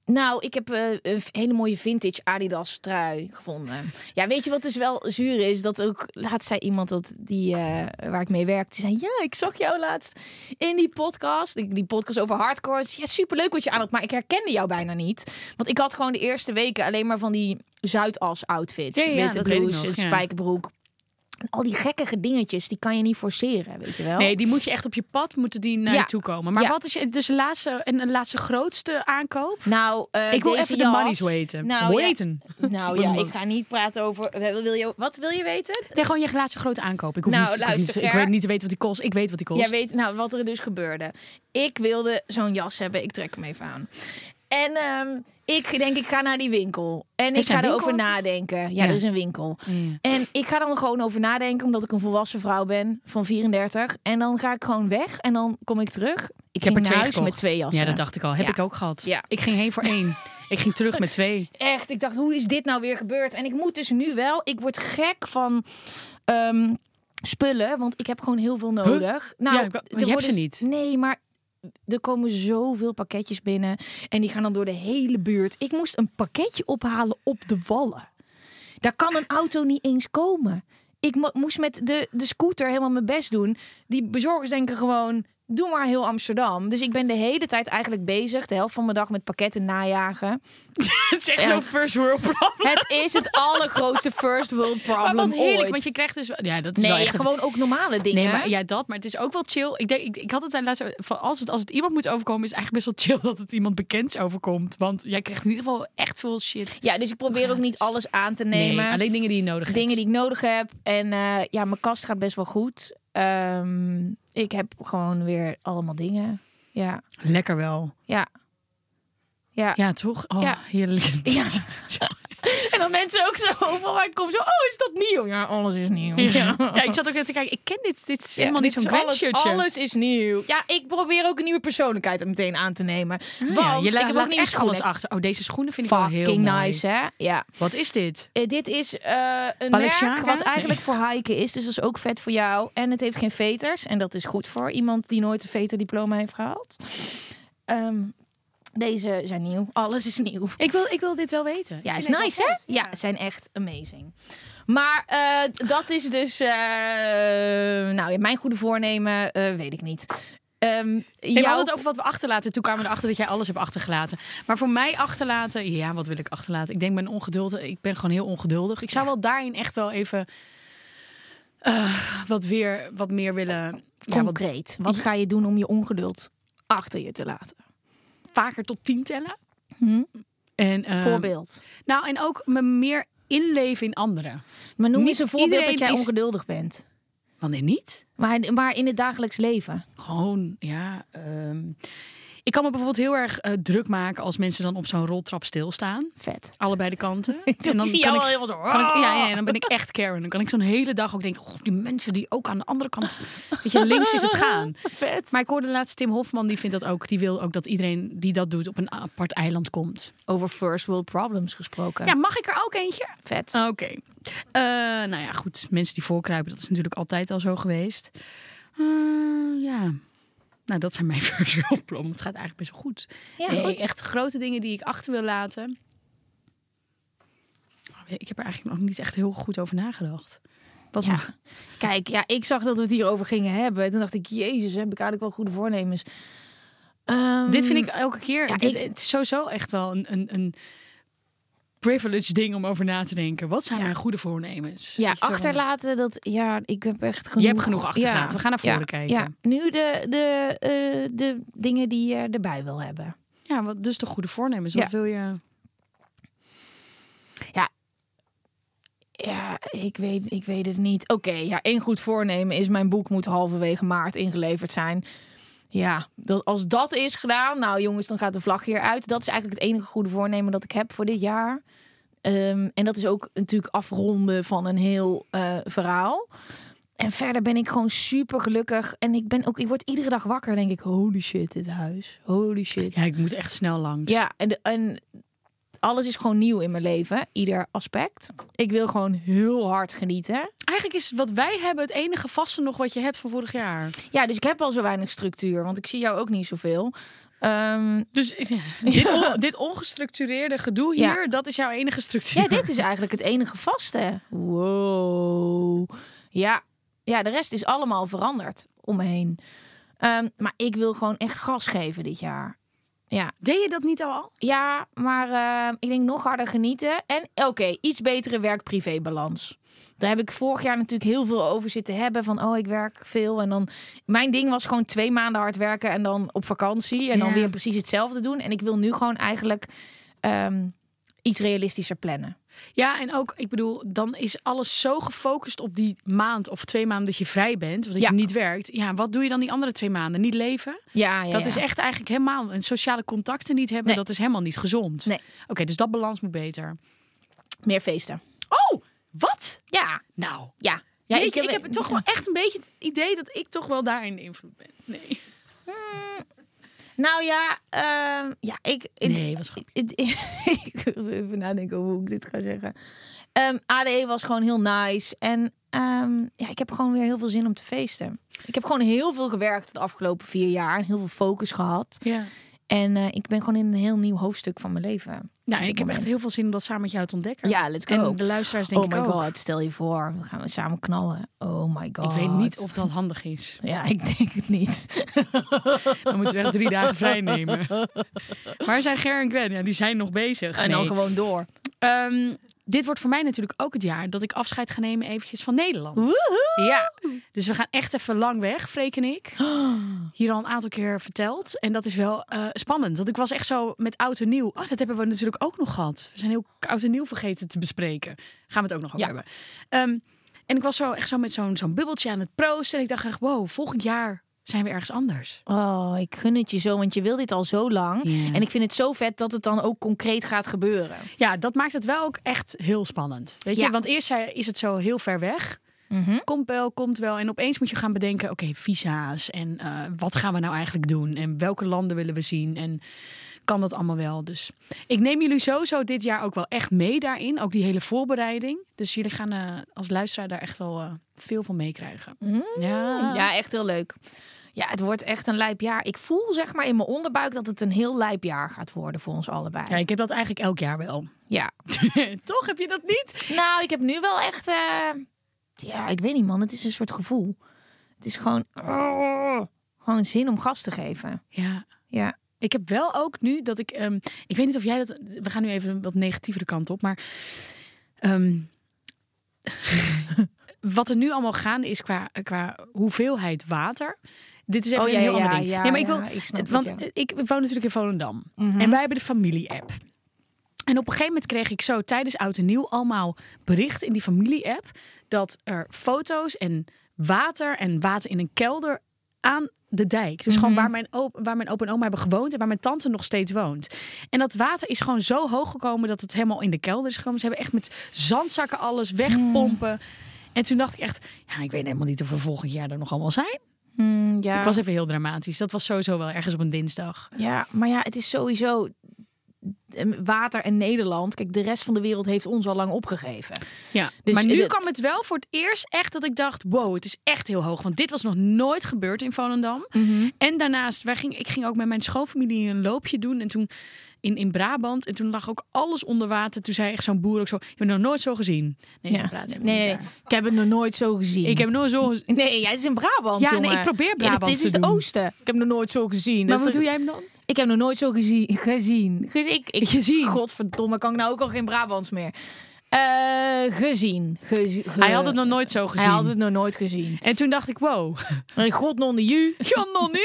nou, ik heb eh, een hele mooie vintage Adidas trui gevonden. Ja, weet je wat dus wel zuur is? Dat ook laatst zei iemand dat die, eh, waar ik mee werk, die zei: Ja, ik zag jou laatst in die podcast. Die, die podcast over hardcore. Ik zei, Ja, superleuk wat je aan had, maar ik herkende jou bijna niet. Want ik had gewoon de eerste weken alleen maar van die Zuidas outfits.
Ja, ja,
witte
dat weet ik
blouse,
nog, ja.
spijkerbroek. En al die gekkige dingetjes, die kan je niet forceren, weet je wel.
Nee, die moet je echt op je pad, moeten die naar
Ja.
je toe komen. Maar
Ja.
wat is je dus de laatste, en een laatste grootste aankoop?
Nou, eh,
ik wil
deze
even
jas-
de money's weten.
Nou, ja.
weten.
Nou
wil
ja,
hem
ik
ook.
ga niet praten over. eh, Wil je, wat wil je weten?
Nee, gewoon je laatste grote aankoop. Ik hoef
Nou,
niet, ik hoef
luister,
niet, ik
Ger.
weet niet te weten wat die kost. Ik weet wat die kost.
Jij weet nou wat er dus gebeurde. Ik wilde zo'n jas hebben. Ik trek hem even aan. En ehm, ik denk, ik ga naar die winkel. En ik
Heeft zij
ga
een
erover
winkel?
nadenken. Ja,
Ja. Mm.
er is een winkel.
Ja.
En ik ga dan gewoon over nadenken, omdat ik een volwassen vrouw ben van 34. En dan ga ik gewoon weg en dan kom ik terug. Ik,
Ik heb
ging
er twee
naar huis
gekocht.
met twee jassen.
Ja, dat dacht ik al. Heb
Ja.
ik ook gehad.
Ja.
Ik ging heen voor één. ik ging terug met twee.
echt. Ik dacht, hoe is dit nou weer gebeurd? En ik moet dus nu wel. Ik word gek van ehm, spullen, want ik heb gewoon heel veel nodig. Nou,
Ja, ik wou-
er
want je hebt ze
worden-
niet.
Nee, maar er komen zoveel pakketjes binnen en die gaan dan door de hele buurt. Ik moest een pakketje ophalen op de wallen. Daar kan een auto niet eens komen. Ik mo- moest met de, de scooter helemaal mijn best doen. Die bezorgers denken gewoon, doe maar heel Amsterdam. Dus ik ben de hele tijd eigenlijk bezig, de helft van mijn dag met pakketten najagen.
Het is echt
zo'n
zo'n first world problem.
Het is het allergrootste first world problem
Maar wat heerlijk,
ooit.
want je krijgt dus... wel- Ja, dat is
nee,
wel echt...
gewoon ook normale dingen.
Nee, maar ja, dat. Maar het is ook wel chill. Ik, denk, ik, ik had het daar laatst... over- van Als het, als het iemand moet overkomen, is het eigenlijk best wel chill dat het iemand bekends overkomt. Want jij krijgt in ieder geval echt veel shit.
Ja, dus ik probeer ook niet alles aan te
Nee,
nemen.
alleen dingen die je nodig hebt.
dingen die ik nodig heb. En eh, ja, mijn kast gaat best wel goed. Ehm, ik heb gewoon weer allemaal dingen. Ja,
Lekker wel.
ja. Ja.
Ja, toch? Oh,
Ja.
heerlijk.
Ja. En dan mensen ook zo van waar ik kom. Zo, oh, is dat nieuw? Ja, alles is nieuw. Ja.
Ja, ik zat ook net te kijken. Ik ken dit. Dit is
Ja,
helemaal niet
dit
zo'n
is
Gwen
alles-
shirtje.
Alles is nieuw. Ja, ik probeer ook een nieuwe persoonlijkheid er meteen aan te nemen. Want
Ah, Ja, je
ik heb
laat,
ook
laat
nieuwe
echt alles
schoenen.
achter. Oh, deze schoenen vind ik wel heel
Fucking
mooi.
nice, hè? Ja.
Wat is dit?
Eh, dit is eh, een
Balenciaga?
merk wat eigenlijk voor hiken is. Dus dat is ook vet voor jou. En het heeft geen veters. En dat is goed voor iemand die nooit een veterdiploma heeft gehaald. Ehm, deze zijn nieuw. Alles is nieuw.
Ik wil, ik wil dit wel weten.
Ja, is nice, hè? Ja, zijn echt amazing. Maar eh, dat is dus... eh, nou, ja, mijn goede voornemen eh, weet ik niet. Ehm
Ik
jouw-
had het over wat we achterlaten. Toen kwamen we erachter dat jij alles hebt achtergelaten. Maar voor mij achterlaten, ja, wat wil ik achterlaten? Ik denk mijn ongeduld. Ik ben gewoon heel ongeduldig. Ik zou wel daarin echt wel even eh, wat, weer, wat meer willen. Ja, wat
Concreet, wat ga je doen om je ongeduld achter je te laten?
vaker tot tien tellen. Mhm. En, ehm,
Voorbeeld.
Nou, en ook me meer inleven in anderen.
Maar noem
Niet
eens een voorbeeld
iedereen
dat jij
is-
ongeduldig bent.
Wanneer niet?
Maar, maar in het dagelijks leven.
Gewoon, ja. ehm, ik kan me bijvoorbeeld heel erg eh, druk maken als mensen dan op zo'n roltrap stilstaan.
Vet.
Allebei de kanten.
Ik zie jou al helemaal zo.
kan ik- ja, ja, en dan ben ik echt Karen. Dan kan ik zo'n hele dag ook denken, "Goh, die mensen die ook aan de andere kant, weet je, links is het gaan.
Vet.
Maar ik hoorde laatst Tim Hofman, die vindt dat ook. Die wil ook dat iedereen die dat doet op een apart eiland komt.
Over first world problems gesproken.
Ja, mag ik er ook eentje?
Vet.
Oké. Eh, nou ja, goed. Mensen die voorkruipen, dat is natuurlijk altijd al zo geweest. Eh, ja. Nou, dat zijn mijn first world problems. Het gaat eigenlijk best wel goed.
Ja,
Nee,
goed.
Echt grote dingen die ik achter wil laten. Ik heb er eigenlijk nog niet echt heel goed over nagedacht. Wat
Ja. Kijk, ja, ik zag dat we het hierover gingen hebben. Toen dacht ik, jezus, heb ik eigenlijk wel goede voornemens. Ehm,
Dit vind ik elke keer.
Ja,
dit-
ik-
Het is sowieso echt wel een, een, een privilege ding om over na te denken. Wat zijn mijn goede voornemens?
Ja,
Weet je zo van-
achterlaten, dat... Ja, ik heb echt genoeg...
Je hebt genoeg achtergelaten. We gaan naar voren kijken.
Ja, nu de, de, eh, de dingen die je erbij wil hebben.
Ja, wat, dus de goede voornemens. Wat
Ja.
wil je?
Ja, ik weet, ik weet het niet. Oké, ja, één goed voornemen is mijn boek moet halverwege maart ingeleverd zijn. Ja, dat, als dat is gedaan, nou jongens, dan gaat de vlag hier uit. Dat is eigenlijk het enige goede voornemen dat ik heb voor dit jaar. Ehm, en dat is ook natuurlijk afronden van een heel eh, verhaal. En verder ben ik gewoon super gelukkig. En ik, ben ook, ik word iedere dag wakker en denk ik, holy shit, dit huis. Holy shit.
Ja, ik moet echt snel langs.
Ja, en, de- en alles is gewoon nieuw in mijn leven, ieder aspect. Ik wil gewoon heel hard genieten.
Eigenlijk is wat wij hebben het enige vaste nog wat je hebt van vorig jaar.
Ja, dus ik heb al zo weinig structuur, want ik zie jou ook niet zoveel. Ehm,
Dus dit, on- dit ongestructureerde gedoe
Ja.
hier, dat is jouw enige structuur.
ja, dit is eigenlijk het enige vaste. Wow. Ja, ja de rest is allemaal veranderd om me heen. Ehm, maar ik wil gewoon echt gas geven dit jaar. Ja,
Deed je dat niet al?
ja maar eh, ik denk nog harder genieten. En oké, iets betere werk-privé-balans. Daar heb ik vorig jaar natuurlijk heel veel over zitten hebben. Van, oh, ik werk veel. En dan, mijn ding was gewoon twee maanden hard werken en dan op vakantie. En dan
Ja.
weer precies hetzelfde doen. En ik wil nu gewoon eigenlijk ehm, iets realistischer plannen.
Ja, en ook, ik bedoel, dan is alles zo gefocust op die maand of twee maanden dat je vrij bent, of dat
Ja.
je niet werkt. Ja, wat doe je dan die andere twee maanden? Niet leven?
Ja, ja
dat
ja.
is echt eigenlijk helemaal, en sociale contacten niet hebben,
Nee.
dat is helemaal niet gezond.
Nee.
Oké, dus dat balans moet beter.
meer feesten.
Oh, wat?
Ja,
Nou,
ja. ja
Jeetje, ik, heb toch wel echt een beetje het idee dat ik toch wel daarin de invloed ben. Nee,
Nou ja, ehm, ja ik, ik,
nee was goed.
ik, ik wil even nadenken over hoe ik dit ga zeggen. Ehm, ADE was gewoon heel nice. En ehm, ja, ik heb gewoon weer heel veel zin om te feesten. Ik heb gewoon heel veel gewerkt de afgelopen vier jaar. En heel veel focus gehad.
Ja.
En eh, ik ben gewoon in een heel nieuw hoofdstuk van mijn leven.
Nou, en
Op
ik
dit
heb echt
moment.
heel veel zin om dat samen met jou te ontdekken.
Ja, let's go.
En de luisteraars denk
oh
ik
my
ook.
god, stel je voor. Dan gaan we samen knallen. Oh my god.
Ik weet niet of dat handig is.
Ja, ik denk het niet.
Dan moeten we echt drie dagen vrij nemen. Waar zijn Ger en Gwen? Ja, die zijn nog bezig.
En dan
Nee.
gewoon door.
Ehm, dit wordt voor mij natuurlijk ook het jaar dat ik afscheid ga nemen eventjes van Nederland. Ja, dus we gaan echt even lang weg, Freek en ik. Hier al een aantal keer verteld. En dat is wel eh, spannend. Want ik was echt zo met oud en nieuw. Oh, dat hebben we natuurlijk ook nog gehad. We zijn heel oud en nieuw vergeten te bespreken. Gaan we het ook nog over
Ja.
hebben. Ehm, en ik was zo echt zo met zo'n zo'n bubbeltje aan het proosten. En ik dacht echt, wow, volgend jaar zijn we ergens anders.
Oh, ik gun het je zo, want je wil dit al zo lang.
Ja.
En ik vind het zo vet dat het dan ook concreet gaat gebeuren.
Ja, dat maakt het wel ook echt heel spannend. Weet je,
Ja.
want eerst zei- is het zo heel ver weg. Komt wel, komt wel. En opeens moet je gaan bedenken: oké, visa's. En eh, wat gaan we nou eigenlijk doen? En welke landen willen we zien? En kan dat allemaal wel? Dus ik neem jullie sowieso dit jaar ook wel echt mee daarin. Ook die hele voorbereiding. Dus jullie gaan eh, als luisteraar daar echt wel eh, veel van meekrijgen. Ja.
Ja, echt heel leuk. Ja, het wordt echt een lijp jaar. Ik voel zeg maar in mijn onderbuik dat het een heel lijp jaar gaat worden voor ons allebei.
ja, ik heb dat eigenlijk elk jaar wel.
Ja.
Toch heb je dat niet?
Nou, ik heb nu wel echt... eh, Ja, ik weet niet man, het is een soort gevoel. Het is gewoon... Oh, gewoon zin om gas te geven.
Ja,
Ja.
Ik heb wel ook nu dat ik. ehm, ik weet niet of jij dat. We gaan nu even een wat negatievere kant op. Maar. ehm, wat er nu allemaal gaande is qua, qua hoeveelheid water. Dit is even
Oh, ja,
een heel
ja,
ander ding.
ja,
nee, maar ik
ja,
wil.
ik snap het,
want
ja. Mhm.
ik woon natuurlijk in Volendam. En wij hebben de familie-app. En op een gegeven moment kreeg ik zo tijdens oud en nieuw allemaal bericht in die familie-app dat er foto's en water en water in een kelder aan de dijk. Dus gewoon waar mijn, opa, waar mijn opa en oma hebben gewoond en waar mijn tante nog steeds woont. En dat water is gewoon zo hoog gekomen dat het helemaal in de kelder is gekomen. Ze hebben echt met zandzakken alles wegpompen. En toen dacht ik echt, ja, ik weet helemaal niet of we volgend jaar er nog allemaal zijn.
Mm, ja.
Ik was even heel dramatisch. Dat was sowieso wel ergens op een dinsdag.
Ja, maar ja, het is sowieso eh, water en Nederland. Kijk, de rest van de wereld heeft ons al lang opgegeven.
Ja,
Dus
maar nu
de-
kwam het wel voor het eerst echt dat ik dacht: wow, het is echt heel hoog. Want dit was nog nooit
Mhm.
gebeurd in Volendam. En daarnaast, wij ging, ik ging ook met mijn schoonfamilie een loopje doen. En toen, in, in Brabant. En toen lag ook alles onder water. Toen zei echt zo'n boer ook zo, je hebt nog nooit zo gezien. Nee,
Ja.
ze praten
Nee,
helemaal
nee,
niet
nee.
daar.
ik heb het nog nooit zo gezien.
Ik heb nooit zo gezien.
Nee, jij is in Brabant,
Ja, nee,
jongen.
ik probeer
Ja,
Brabant
dit
te
is het
doen.
oosten. Ik heb nog nooit zo gezien.
Maar
Dus
wat
er-
doe jij hem dan?
Ik heb nog nooit zo gezien. Gezien. Gez- ik, ik, gezien. Godverdomme, kan ik nou ook al geen Brabants meer. Eh, gezien. Gezi- ge-
Hij had het nog nooit zo gezien.
Hij had het nog nooit gezien.
En toen dacht ik, wow.
Maar God non de ju.
Jan dan nu?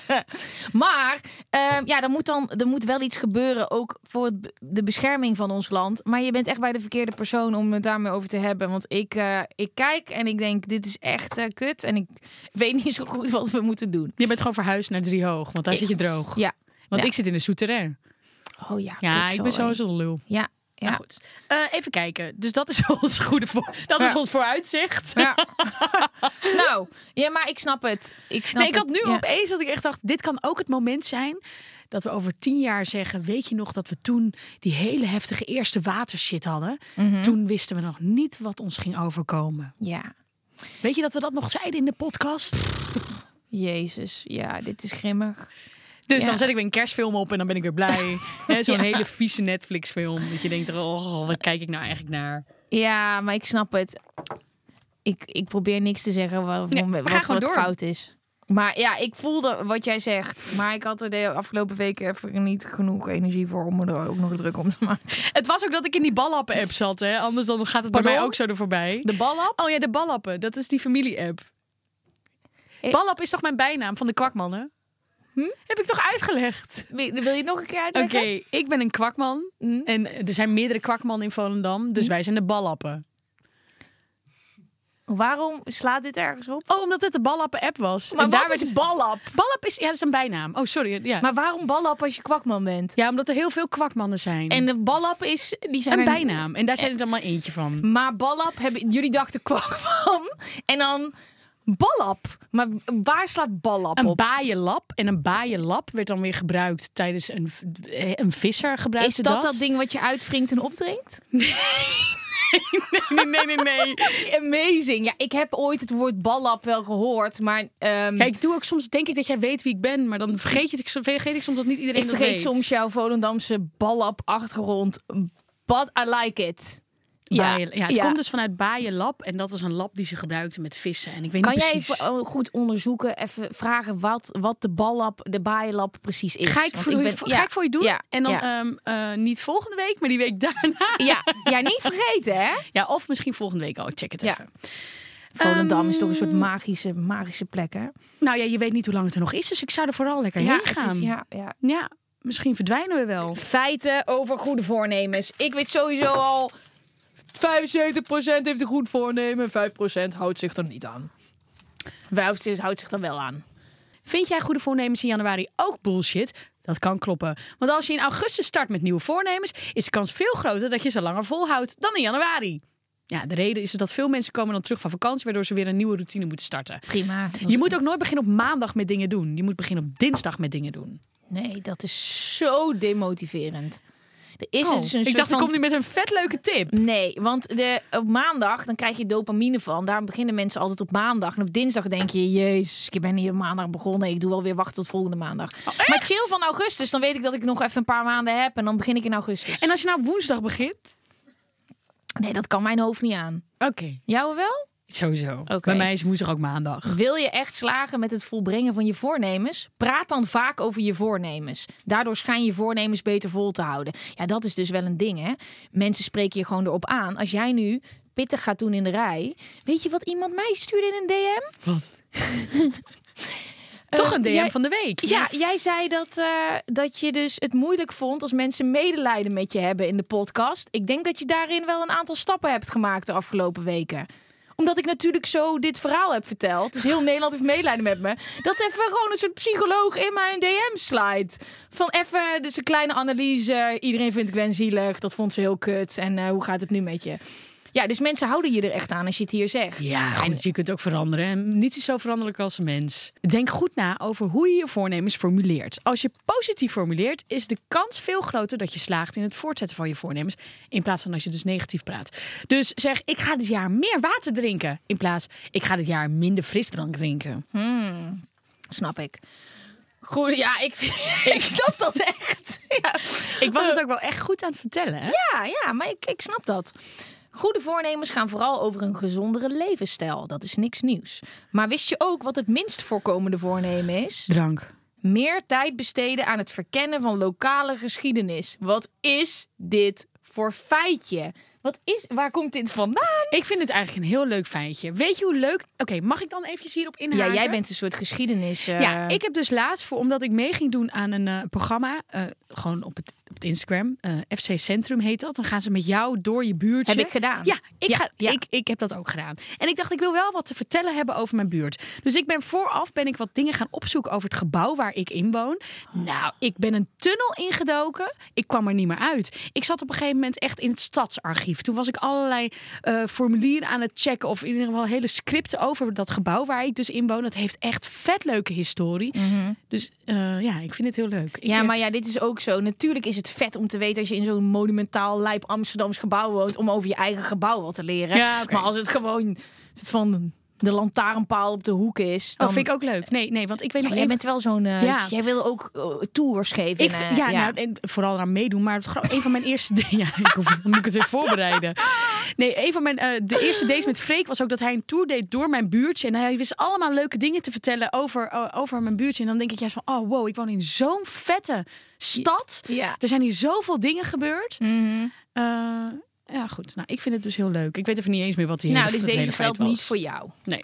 Maar eh, ja, er moet, dan, er moet wel iets gebeuren. Ook voor het be- de bescherming van ons land. Maar je bent echt bij de verkeerde persoon om het daarmee over te hebben. Want ik, eh, ik kijk en ik denk, dit is echt eh, kut. En ik weet niet zo goed wat we moeten doen.
Je bent gewoon verhuisd naar Driehoog, want daar zit je droog.
Ja.
Want
Ja.
ik zit in de souterrain.
Oh ja.
Ja,
kut,
ik ben
sorry.
sowieso een lul.
Ja, ja.
Nou goed. Eh, even kijken. Dus dat is ons goede voor, dat is
Ja.
ons vooruitzicht.
Ja. nou, ja, maar ik snap het. Ik snap
Nee, ik had
het.
nu
Ja.
opeens dat ik echt dacht, dit kan ook het moment zijn dat we over tien jaar zeggen, weet je nog dat we toen die hele heftige eerste watershit hadden? Toen wisten we nog niet wat ons ging overkomen.
Ja.
Weet je dat we dat nog zeiden in de podcast?
Jezus, ja, dit is grimmig.
Dus
Ja.
dan zet ik weer een kerstfilm op en dan ben ik weer blij. Hè, Zo'n hele vieze Netflix film. Dat je denkt, oh, wat kijk ik nou eigenlijk naar?
Ja, maar ik snap het. Ik, ik probeer niks te zeggen wat,
Nee, we
wat,
gaan gewoon
wat
door.
fout is. Maar ja, ik voelde wat jij zegt. Maar ik had er de afgelopen weken even niet genoeg energie voor om me er ook nog druk om te maken.
Het was ook dat ik in die ballappen app zat, hè? Anders dan gaat het bij
Pardon?
mij ook zo er voorbij.
De bal op?
Oh ja, de ballappen. Dat is die familie-app.
Eh.
Ballap is toch mijn bijnaam van de kwakmannen? Heb ik toch uitgelegd?
Wil wil je het nog een keer
Oké,
uitleggen?
ik ben een kwakman.
Mhm.
En eh, er zijn meerdere kwakmannen in Volendam. Dus wij zijn de ballappen.
Waarom slaat dit ergens op?
Oh, omdat het de ballappen-app was.
Maar
en
wat
daar
is
werd...
ballap?
Ballap is... Ja, dat is een bijnaam. Oh, sorry. Ja.
Maar waarom ballap als je kwakman bent?
ja, omdat er heel veel kwakmannen zijn.
En de ballap is... Die zijn
een
er-
bijnaam. En daar zijn er dan maar eentje van.
Maar ballap, hebben, jullie dachten kwak van. En dan ballap. Maar waar slaat ballap
Een
op?
baaienlap. En een baaienlap werd dan weer gebruikt tijdens een, v- eh, een visser. Gebruikte
Is dat, dat ding wat je uitvringt en opdrinkt?
Nee, nee, nee. nee.
Amazing. Ja, ik heb ooit het woord ballap wel gehoord, maar ehm,
Kijk, ik doe ook soms, denk ik dat jij weet wie ik ben. Maar dan vergeet, je, het- vergeet ik soms dat niet iedereen
ik
dat
vergeet
weet.
soms jouw Volendamse ballap achtergrond. But I like it.
Ja, ja, het komt dus vanuit baaienlap. En dat was een lap die ze gebruikten met vissen. En ik weet
Kan
niet
jij
precies.
even oh, goed onderzoeken, even vragen wat, wat de ballap, de baaienlap precies is?
Ga ik,
Want
voor,
ben-
voor-
ja,
ga ik voor je doen.
ja,
en dan
ja.
ehm, eh, niet volgende week, maar die week daarna.
ja, ja, niet vergeten, hè?
Ja, of misschien volgende week. Oh, check het
Ja.
even. Ehm,
Volendam is toch een soort magische, magische plek, hè?
Nou ja, je weet niet hoe lang het er nog is. Dus ik zou er vooral lekker heen
het
gaan.
is- ja, ja.
ja, misschien verdwijnen we wel.
Feiten over goede voornemens. Ik weet sowieso al. 75% heeft een goed voornemen, 5% houdt zich er niet aan. Wij houdt zich, houdt zich er wel aan.
Vind jij goede voornemens in januari ook bullshit? Dat kan kloppen. Want als je in augustus start met nieuwe voornemens, is de kans veel groter dat je ze langer volhoudt dan in januari. Ja, de reden is dat veel mensen komen dan terug van vakantie, waardoor ze weer een nieuwe routine moeten starten.
Prima.
Je moet ook nooit beginnen op maandag met dingen doen. Je moet beginnen op dinsdag met dingen doen.
Nee, dat is zo demotiverend. Er is
Oh,
dus een
ik
soort
dacht, ik
van-
kom nu met een vet leuke tip.
Nee, want de, op maandag dan krijg je dopamine van. Daarom beginnen mensen altijd op maandag. En op dinsdag denk je, jezus, ik ben hier op maandag begonnen. Ik doe alweer wachten tot volgende maandag. maar chill van augustus, dan weet ik dat ik nog even een paar maanden heb. En dan begin ik in augustus.
En als je nou op woensdag begint?
Nee, dat kan mijn hoofd niet aan.
Oké,
Jou wel?
sowieso.
Oké.
Bij mij is woensdag ook maandag.
Wil je echt slagen met het volbrengen van je voornemens? Praat dan vaak over je voornemens. Daardoor schijn je voornemens beter vol te houden. Ja, dat is dus wel een ding, hè? Mensen spreken je gewoon erop aan. Als jij nu pittig gaat doen in de rij, weet je wat iemand mij stuurde in een DM?
Wat? Toch een DM
Eh, jij-
van de week.
Ja, jij zei dat, eh, dat je dus het moeilijk vond als mensen medelijden met je hebben in de podcast. Ik denk dat je daarin wel een aantal stappen hebt gemaakt de afgelopen weken omdat ik natuurlijk zo dit verhaal heb verteld. Dus heel Nederland heeft medelijden met me. Dat even gewoon een soort psycholoog in mijn DM slide. Van even dus een kleine analyse. Iedereen vindt Gwen zielig. Dat vond ze heel kut. En eh, hoe gaat het nu met je? Ja, dus mensen houden je er echt aan als je het hier zegt.
Ja, goed, je kunt ook veranderen. En niets is zo veranderlijk als een mens. Denk goed na over hoe je je voornemens formuleert. Als je positief formuleert, is de kans veel groter dat je slaagt in het voortzetten van je voornemens. In plaats van als je dus negatief praat. Dus zeg, ik ga dit jaar meer water drinken. Hm. In plaats, ik ga dit jaar minder frisdrank drinken.
Snap ik. Groene, ja, ik, ik snap dat echt. Ja.
Ik was het ook wel echt goed aan het vertellen, hè?
Ja, ja, maar ik, ik snap dat. Goede voornemens gaan vooral over een gezondere levensstijl. Dat is niks nieuws. Maar wist je ook wat het minst voorkomende voornemen is?
Drank.
Meer tijd besteden aan het verkennen van lokale geschiedenis. Wat is dit voor feitje? Wat is, waar komt dit vandaan?
Ik vind het eigenlijk een heel leuk feitje. Weet je hoe leuk... Oké, mag ik dan eventjes hierop inhaken?
Ja, jij bent een soort geschiedenis. eh,
Ja, ik heb dus laatst, voor, omdat ik mee ging doen aan een eh, programma, eh, gewoon op het, op het Instagram, eh, FC Centrum heet dat. Dan gaan ze met jou door je buurtje.
Heb ik gedaan.
Ja, ik,
Ja,
ga,
ja.
Ik, ik heb dat ook gedaan. En ik dacht, ik wil wel wat te vertellen hebben over mijn buurt. Dus ik ben vooraf ben ik wat dingen gaan opzoeken over het gebouw waar ik in woon. Nou, ik ben een tunnel ingedoken. Ik kwam er niet meer uit. Ik zat op een gegeven moment echt in het stadsarchief. Toen was ik allerlei eh, formulieren aan het checken. Of in ieder geval hele scripten over dat gebouw waar ik dus in woon. Dat heeft echt vet leuke historie. Dus eh, ja, ik vind het heel leuk. Ik,
Mhm. Ja,
eh,
maar ja, dit is ook zo. Natuurlijk is het vet om te weten als je in zo'n monumentaal lijp Amsterdams gebouw woont, om over je eigen gebouw wat te leren.
Ja, oké.
Maar als het gewoon het van de lantaarnpaal op de hoek is, dan
Dat Oh, vind ik ook leuk. Nee, nee, want ik weet
Ja,
nog
jij
even-
bent wel zo'n. eh,
Ja.
Jij wil ook eh, tours geven.
Ik,
en,
v-
eh,
ja, Nou, en vooral aan meedoen. Maar het, gro- een van mijn eerste... da- Ja, ik hoef, dan moet ik het weer voorbereiden. Nee, een van mijn... eh, de eerste dates met Freek was ook dat hij een tour deed door mijn buurtje. En hij wist allemaal leuke dingen te vertellen over, eh, over mijn buurtje. En dan denk ik juist van... Oh, wow, ik woon in zo'n vette stad.
Ja. Mhm.
Er zijn hier zoveel dingen gebeurd. Eh, ja, goed. Nou, ik vind het dus heel leuk. Ik weet even niet eens meer wat hij
nou, dus deze geldt niet voor jou.
Nee.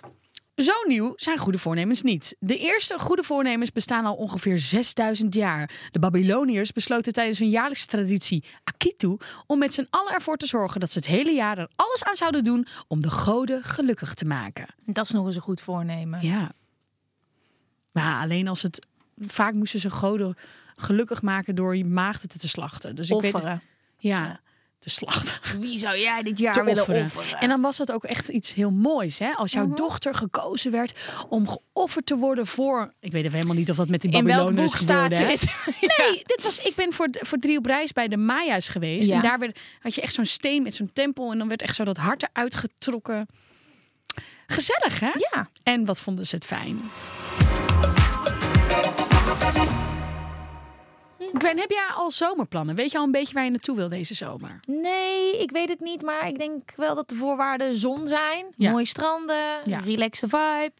Zo nieuw zijn goede voornemens niet. De eerste goede voornemens bestaan al ongeveer 6000 jaar. De Babyloniërs besloten tijdens hun jaarlijkse traditie Akitu om met z'n allen ervoor te zorgen dat ze het hele jaar er alles aan zouden doen om de goden gelukkig te maken.
Dat is nog eens een goed voornemen.
Ja. Maar alleen als het vaak moesten ze goden gelukkig maken door je maagden te slachten. Dus ik weet
Offeren.
ja, te slachten
Wie zou jij dit jaar
te
willen
offeren.
offeren? Mhm.
En dan was dat ook echt iets heel moois. Hè? Als jouw dochter gekozen werd om geofferd te worden voor... Ik weet even helemaal niet of dat met die
In welk
Babyloniërs
boek staat
gebeurde. hè?
dit?
Nee, dit was, ik ben voor, voor drie op reis bij de Maya's geweest.
Ja.
En daar werd, had je echt zo'n steen met zo'n tempel. En dan werd echt zo dat hart eruit getrokken. Gezellig, hè?
Ja.
En wat vonden ze het fijn. Gwen, heb jij al zomerplannen? Weet je al een beetje waar je naartoe wil deze zomer?
Nee, ik weet het niet. Maar ik denk wel dat de voorwaarden zon zijn.
Ja.
Mooie stranden.
Ja.
Relaxed vibe.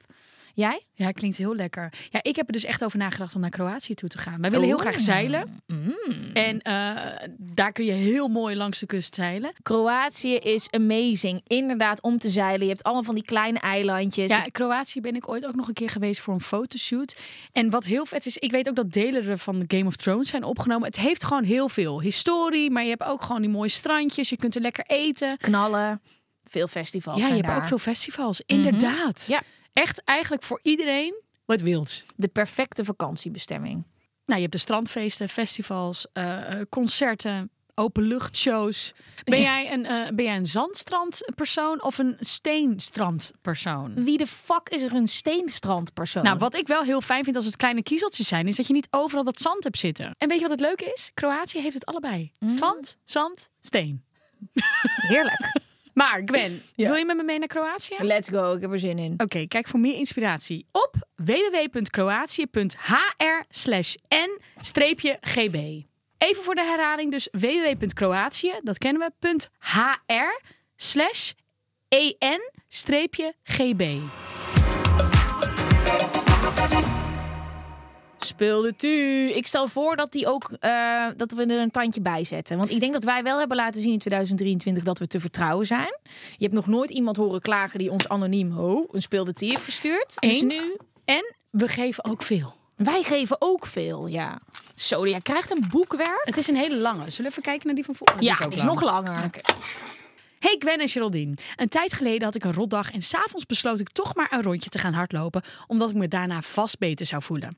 Jij?
Ja, klinkt heel lekker. Ja, ik heb er dus echt over nagedacht om naar Kroatië toe te gaan. Wij willen heel
Oeh.
graag zeilen.
Mm.
En eh, daar kun je heel mooi langs de kust zeilen.
Kroatië is amazing. Inderdaad, om te zeilen. Je hebt allemaal van die kleine eilandjes.
Ja, Kroatië ben ik ooit ook nog een keer geweest voor een fotoshoot. En wat heel vet is, ik weet ook dat delen er van Game of Thrones zijn opgenomen. Het heeft gewoon heel veel historie, maar je hebt ook gewoon die mooie strandjes. Je kunt er lekker eten.
Knallen. Veel festivals
ja, je
zijn
hebt ook
daar. Mhm.
veel festivals. Inderdaad.
Ja.
Echt eigenlijk voor iedereen wat wilds.
De perfecte vakantiebestemming.
Nou, je hebt de strandfeesten, festivals, eh, eh, concerten, openluchtshows. Ben, jij een, eh, ben jij een zandstrandpersoon of een steenstrandpersoon?
Wie de fuck is er een steenstrandpersoon?
Nou, wat ik wel heel fijn vind als het kleine kiezeltjes zijn, is dat je niet overal dat zand hebt zitten. En weet je wat het leuke is? Kroatië heeft het allebei: strand, zand, steen.
heerlijk.
Maar Gwen, wil je met me mee naar Kroatië? Oké,
Let's go, ik heb er zin in.
kijk voor meer inspiratie op www.kroatië.hr/n-gb. Even voor de herhaling, dus www.kroatië, dat kennen we, E .hr/en-gb.
Speel de tu. Ik stel voor dat, die ook, eh, dat we er een tandje bij zetten. Want ik denk dat wij wel hebben laten zien in 2023 dat we te vertrouwen zijn. Je hebt nog nooit iemand horen klagen die ons anoniem ho, een speel de tu heeft gestuurd. Dus
Eens.
nu,
En we geven ook veel.
wij geven ook veel, ja. Zo, jij krijgt een boekwerk.
Het is een hele lange. Zullen we even kijken naar die van volgende?
Ja, die is nog langer.
Hey Gwen en Geraldine. Een tijd geleden had ik een rotdag en s'avonds besloot ik toch maar een rondje te gaan hardlopen, omdat ik me daarna vast beter zou voelen.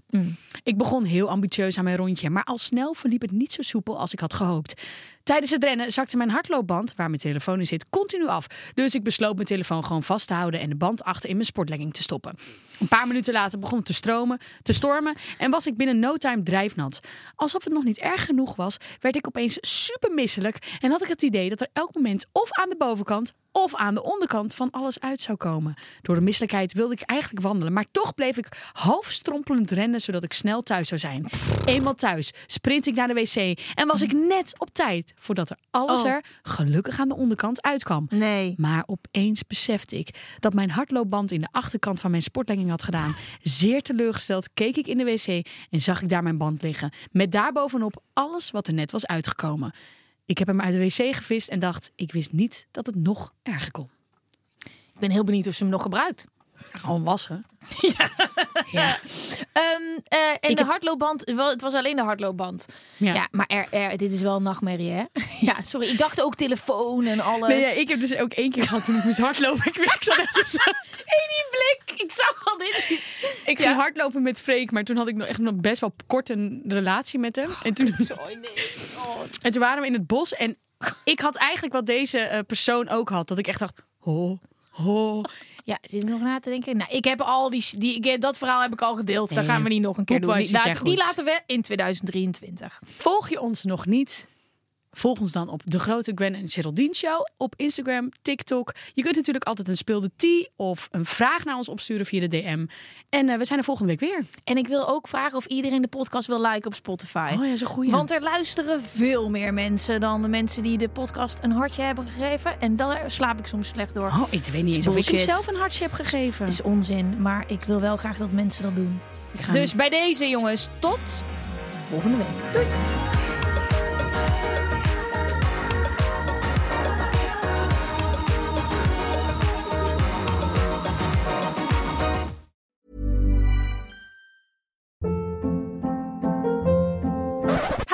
Ik begon heel ambitieus aan mijn rondje, maar al snel verliep het niet zo soepel als ik had gehoopt. Tijdens het rennen zakte mijn hardloopband, waar mijn telefoon in zit, continu af. Dus ik besloot mijn telefoon gewoon vast te houden en de band achter in mijn sportlegging te stoppen. Een paar minuten later begon het te stromen, te stormen en was ik binnen no time drijfnat. Alsof het nog niet erg genoeg was, werd ik opeens super misselijk en had ik het idee dat er elk moment of aan de bovenkant of aan de onderkant van alles uit zou komen. Door de misselijkheid wilde ik eigenlijk wandelen, maar toch bleef ik half strompelend rennen zodat ik snel thuis zou zijn. Eenmaal thuis sprint ik naar de wc en was ik net op tijd voordat er alles
Oh.
er gelukkig aan de onderkant uitkwam.
Nee.
Maar opeens besefte ik dat mijn hardloopband in de achterkant van mijn sportlegging had gedaan. Zeer teleurgesteld keek ik in de wc en zag ik daar mijn band liggen. Met daarbovenop alles wat er net was uitgekomen. Ik heb hem uit de wc gevist en dacht, ik wist niet dat het nog erger kon.
Ik ben heel benieuwd of ze hem nog gebruikt.
Gewoon wassen.
Ehm, eh, en de
heb-
hardloopband, wel, het was alleen de hardloopband. Ja,
Ja.
maar er, er- dit is wel een nachtmerrie, hè? ja, sorry. Ik dacht ook telefoon en alles.
Nee, ja, ik heb dus ook één keer gehad toen ik moest hardlopen. Ik, ik zat echt zo...
Hey, die blik. Ik zag al dit.
Ik ging hardlopen met Freek, maar toen had ik nog echt nog best wel kort een relatie met hem. en, toen, en toen waren we in het bos en ik had eigenlijk wat deze eh, persoon ook had. Dat ik echt dacht, ho, ho.
Ja, zit ik nog na te denken? Nou, ik heb al die, die ik, dat verhaal heb ik al gedeeld. Daar
Nee.
gaan we niet nog een keer doen.
Poepwise
Eh, Die,
zit
laat-
jij
die
goed.
laten we in 2023.
Volg je ons nog niet? Volg ons dan op De Grote Gwen en Geraldine Show op Instagram, TikTok. Je kunt natuurlijk altijd een speelde tea of een vraag naar ons opsturen via de DM. En eh, we zijn er volgende week weer.
En ik wil ook vragen of iedereen de podcast wil liken op Spotify.
Oh ja, zo'n goeie.
Want er luisteren veel meer mensen dan de mensen die de podcast een hartje hebben gegeven. En daar slaap ik soms slecht door.
Oh, ik weet niet eens of ik hem
Bullshit.
zelf een hartje heb gegeven.
is onzin, maar ik wil wel graag dat mensen dat doen.
Ik ga
Dus bij deze jongens, tot volgende week.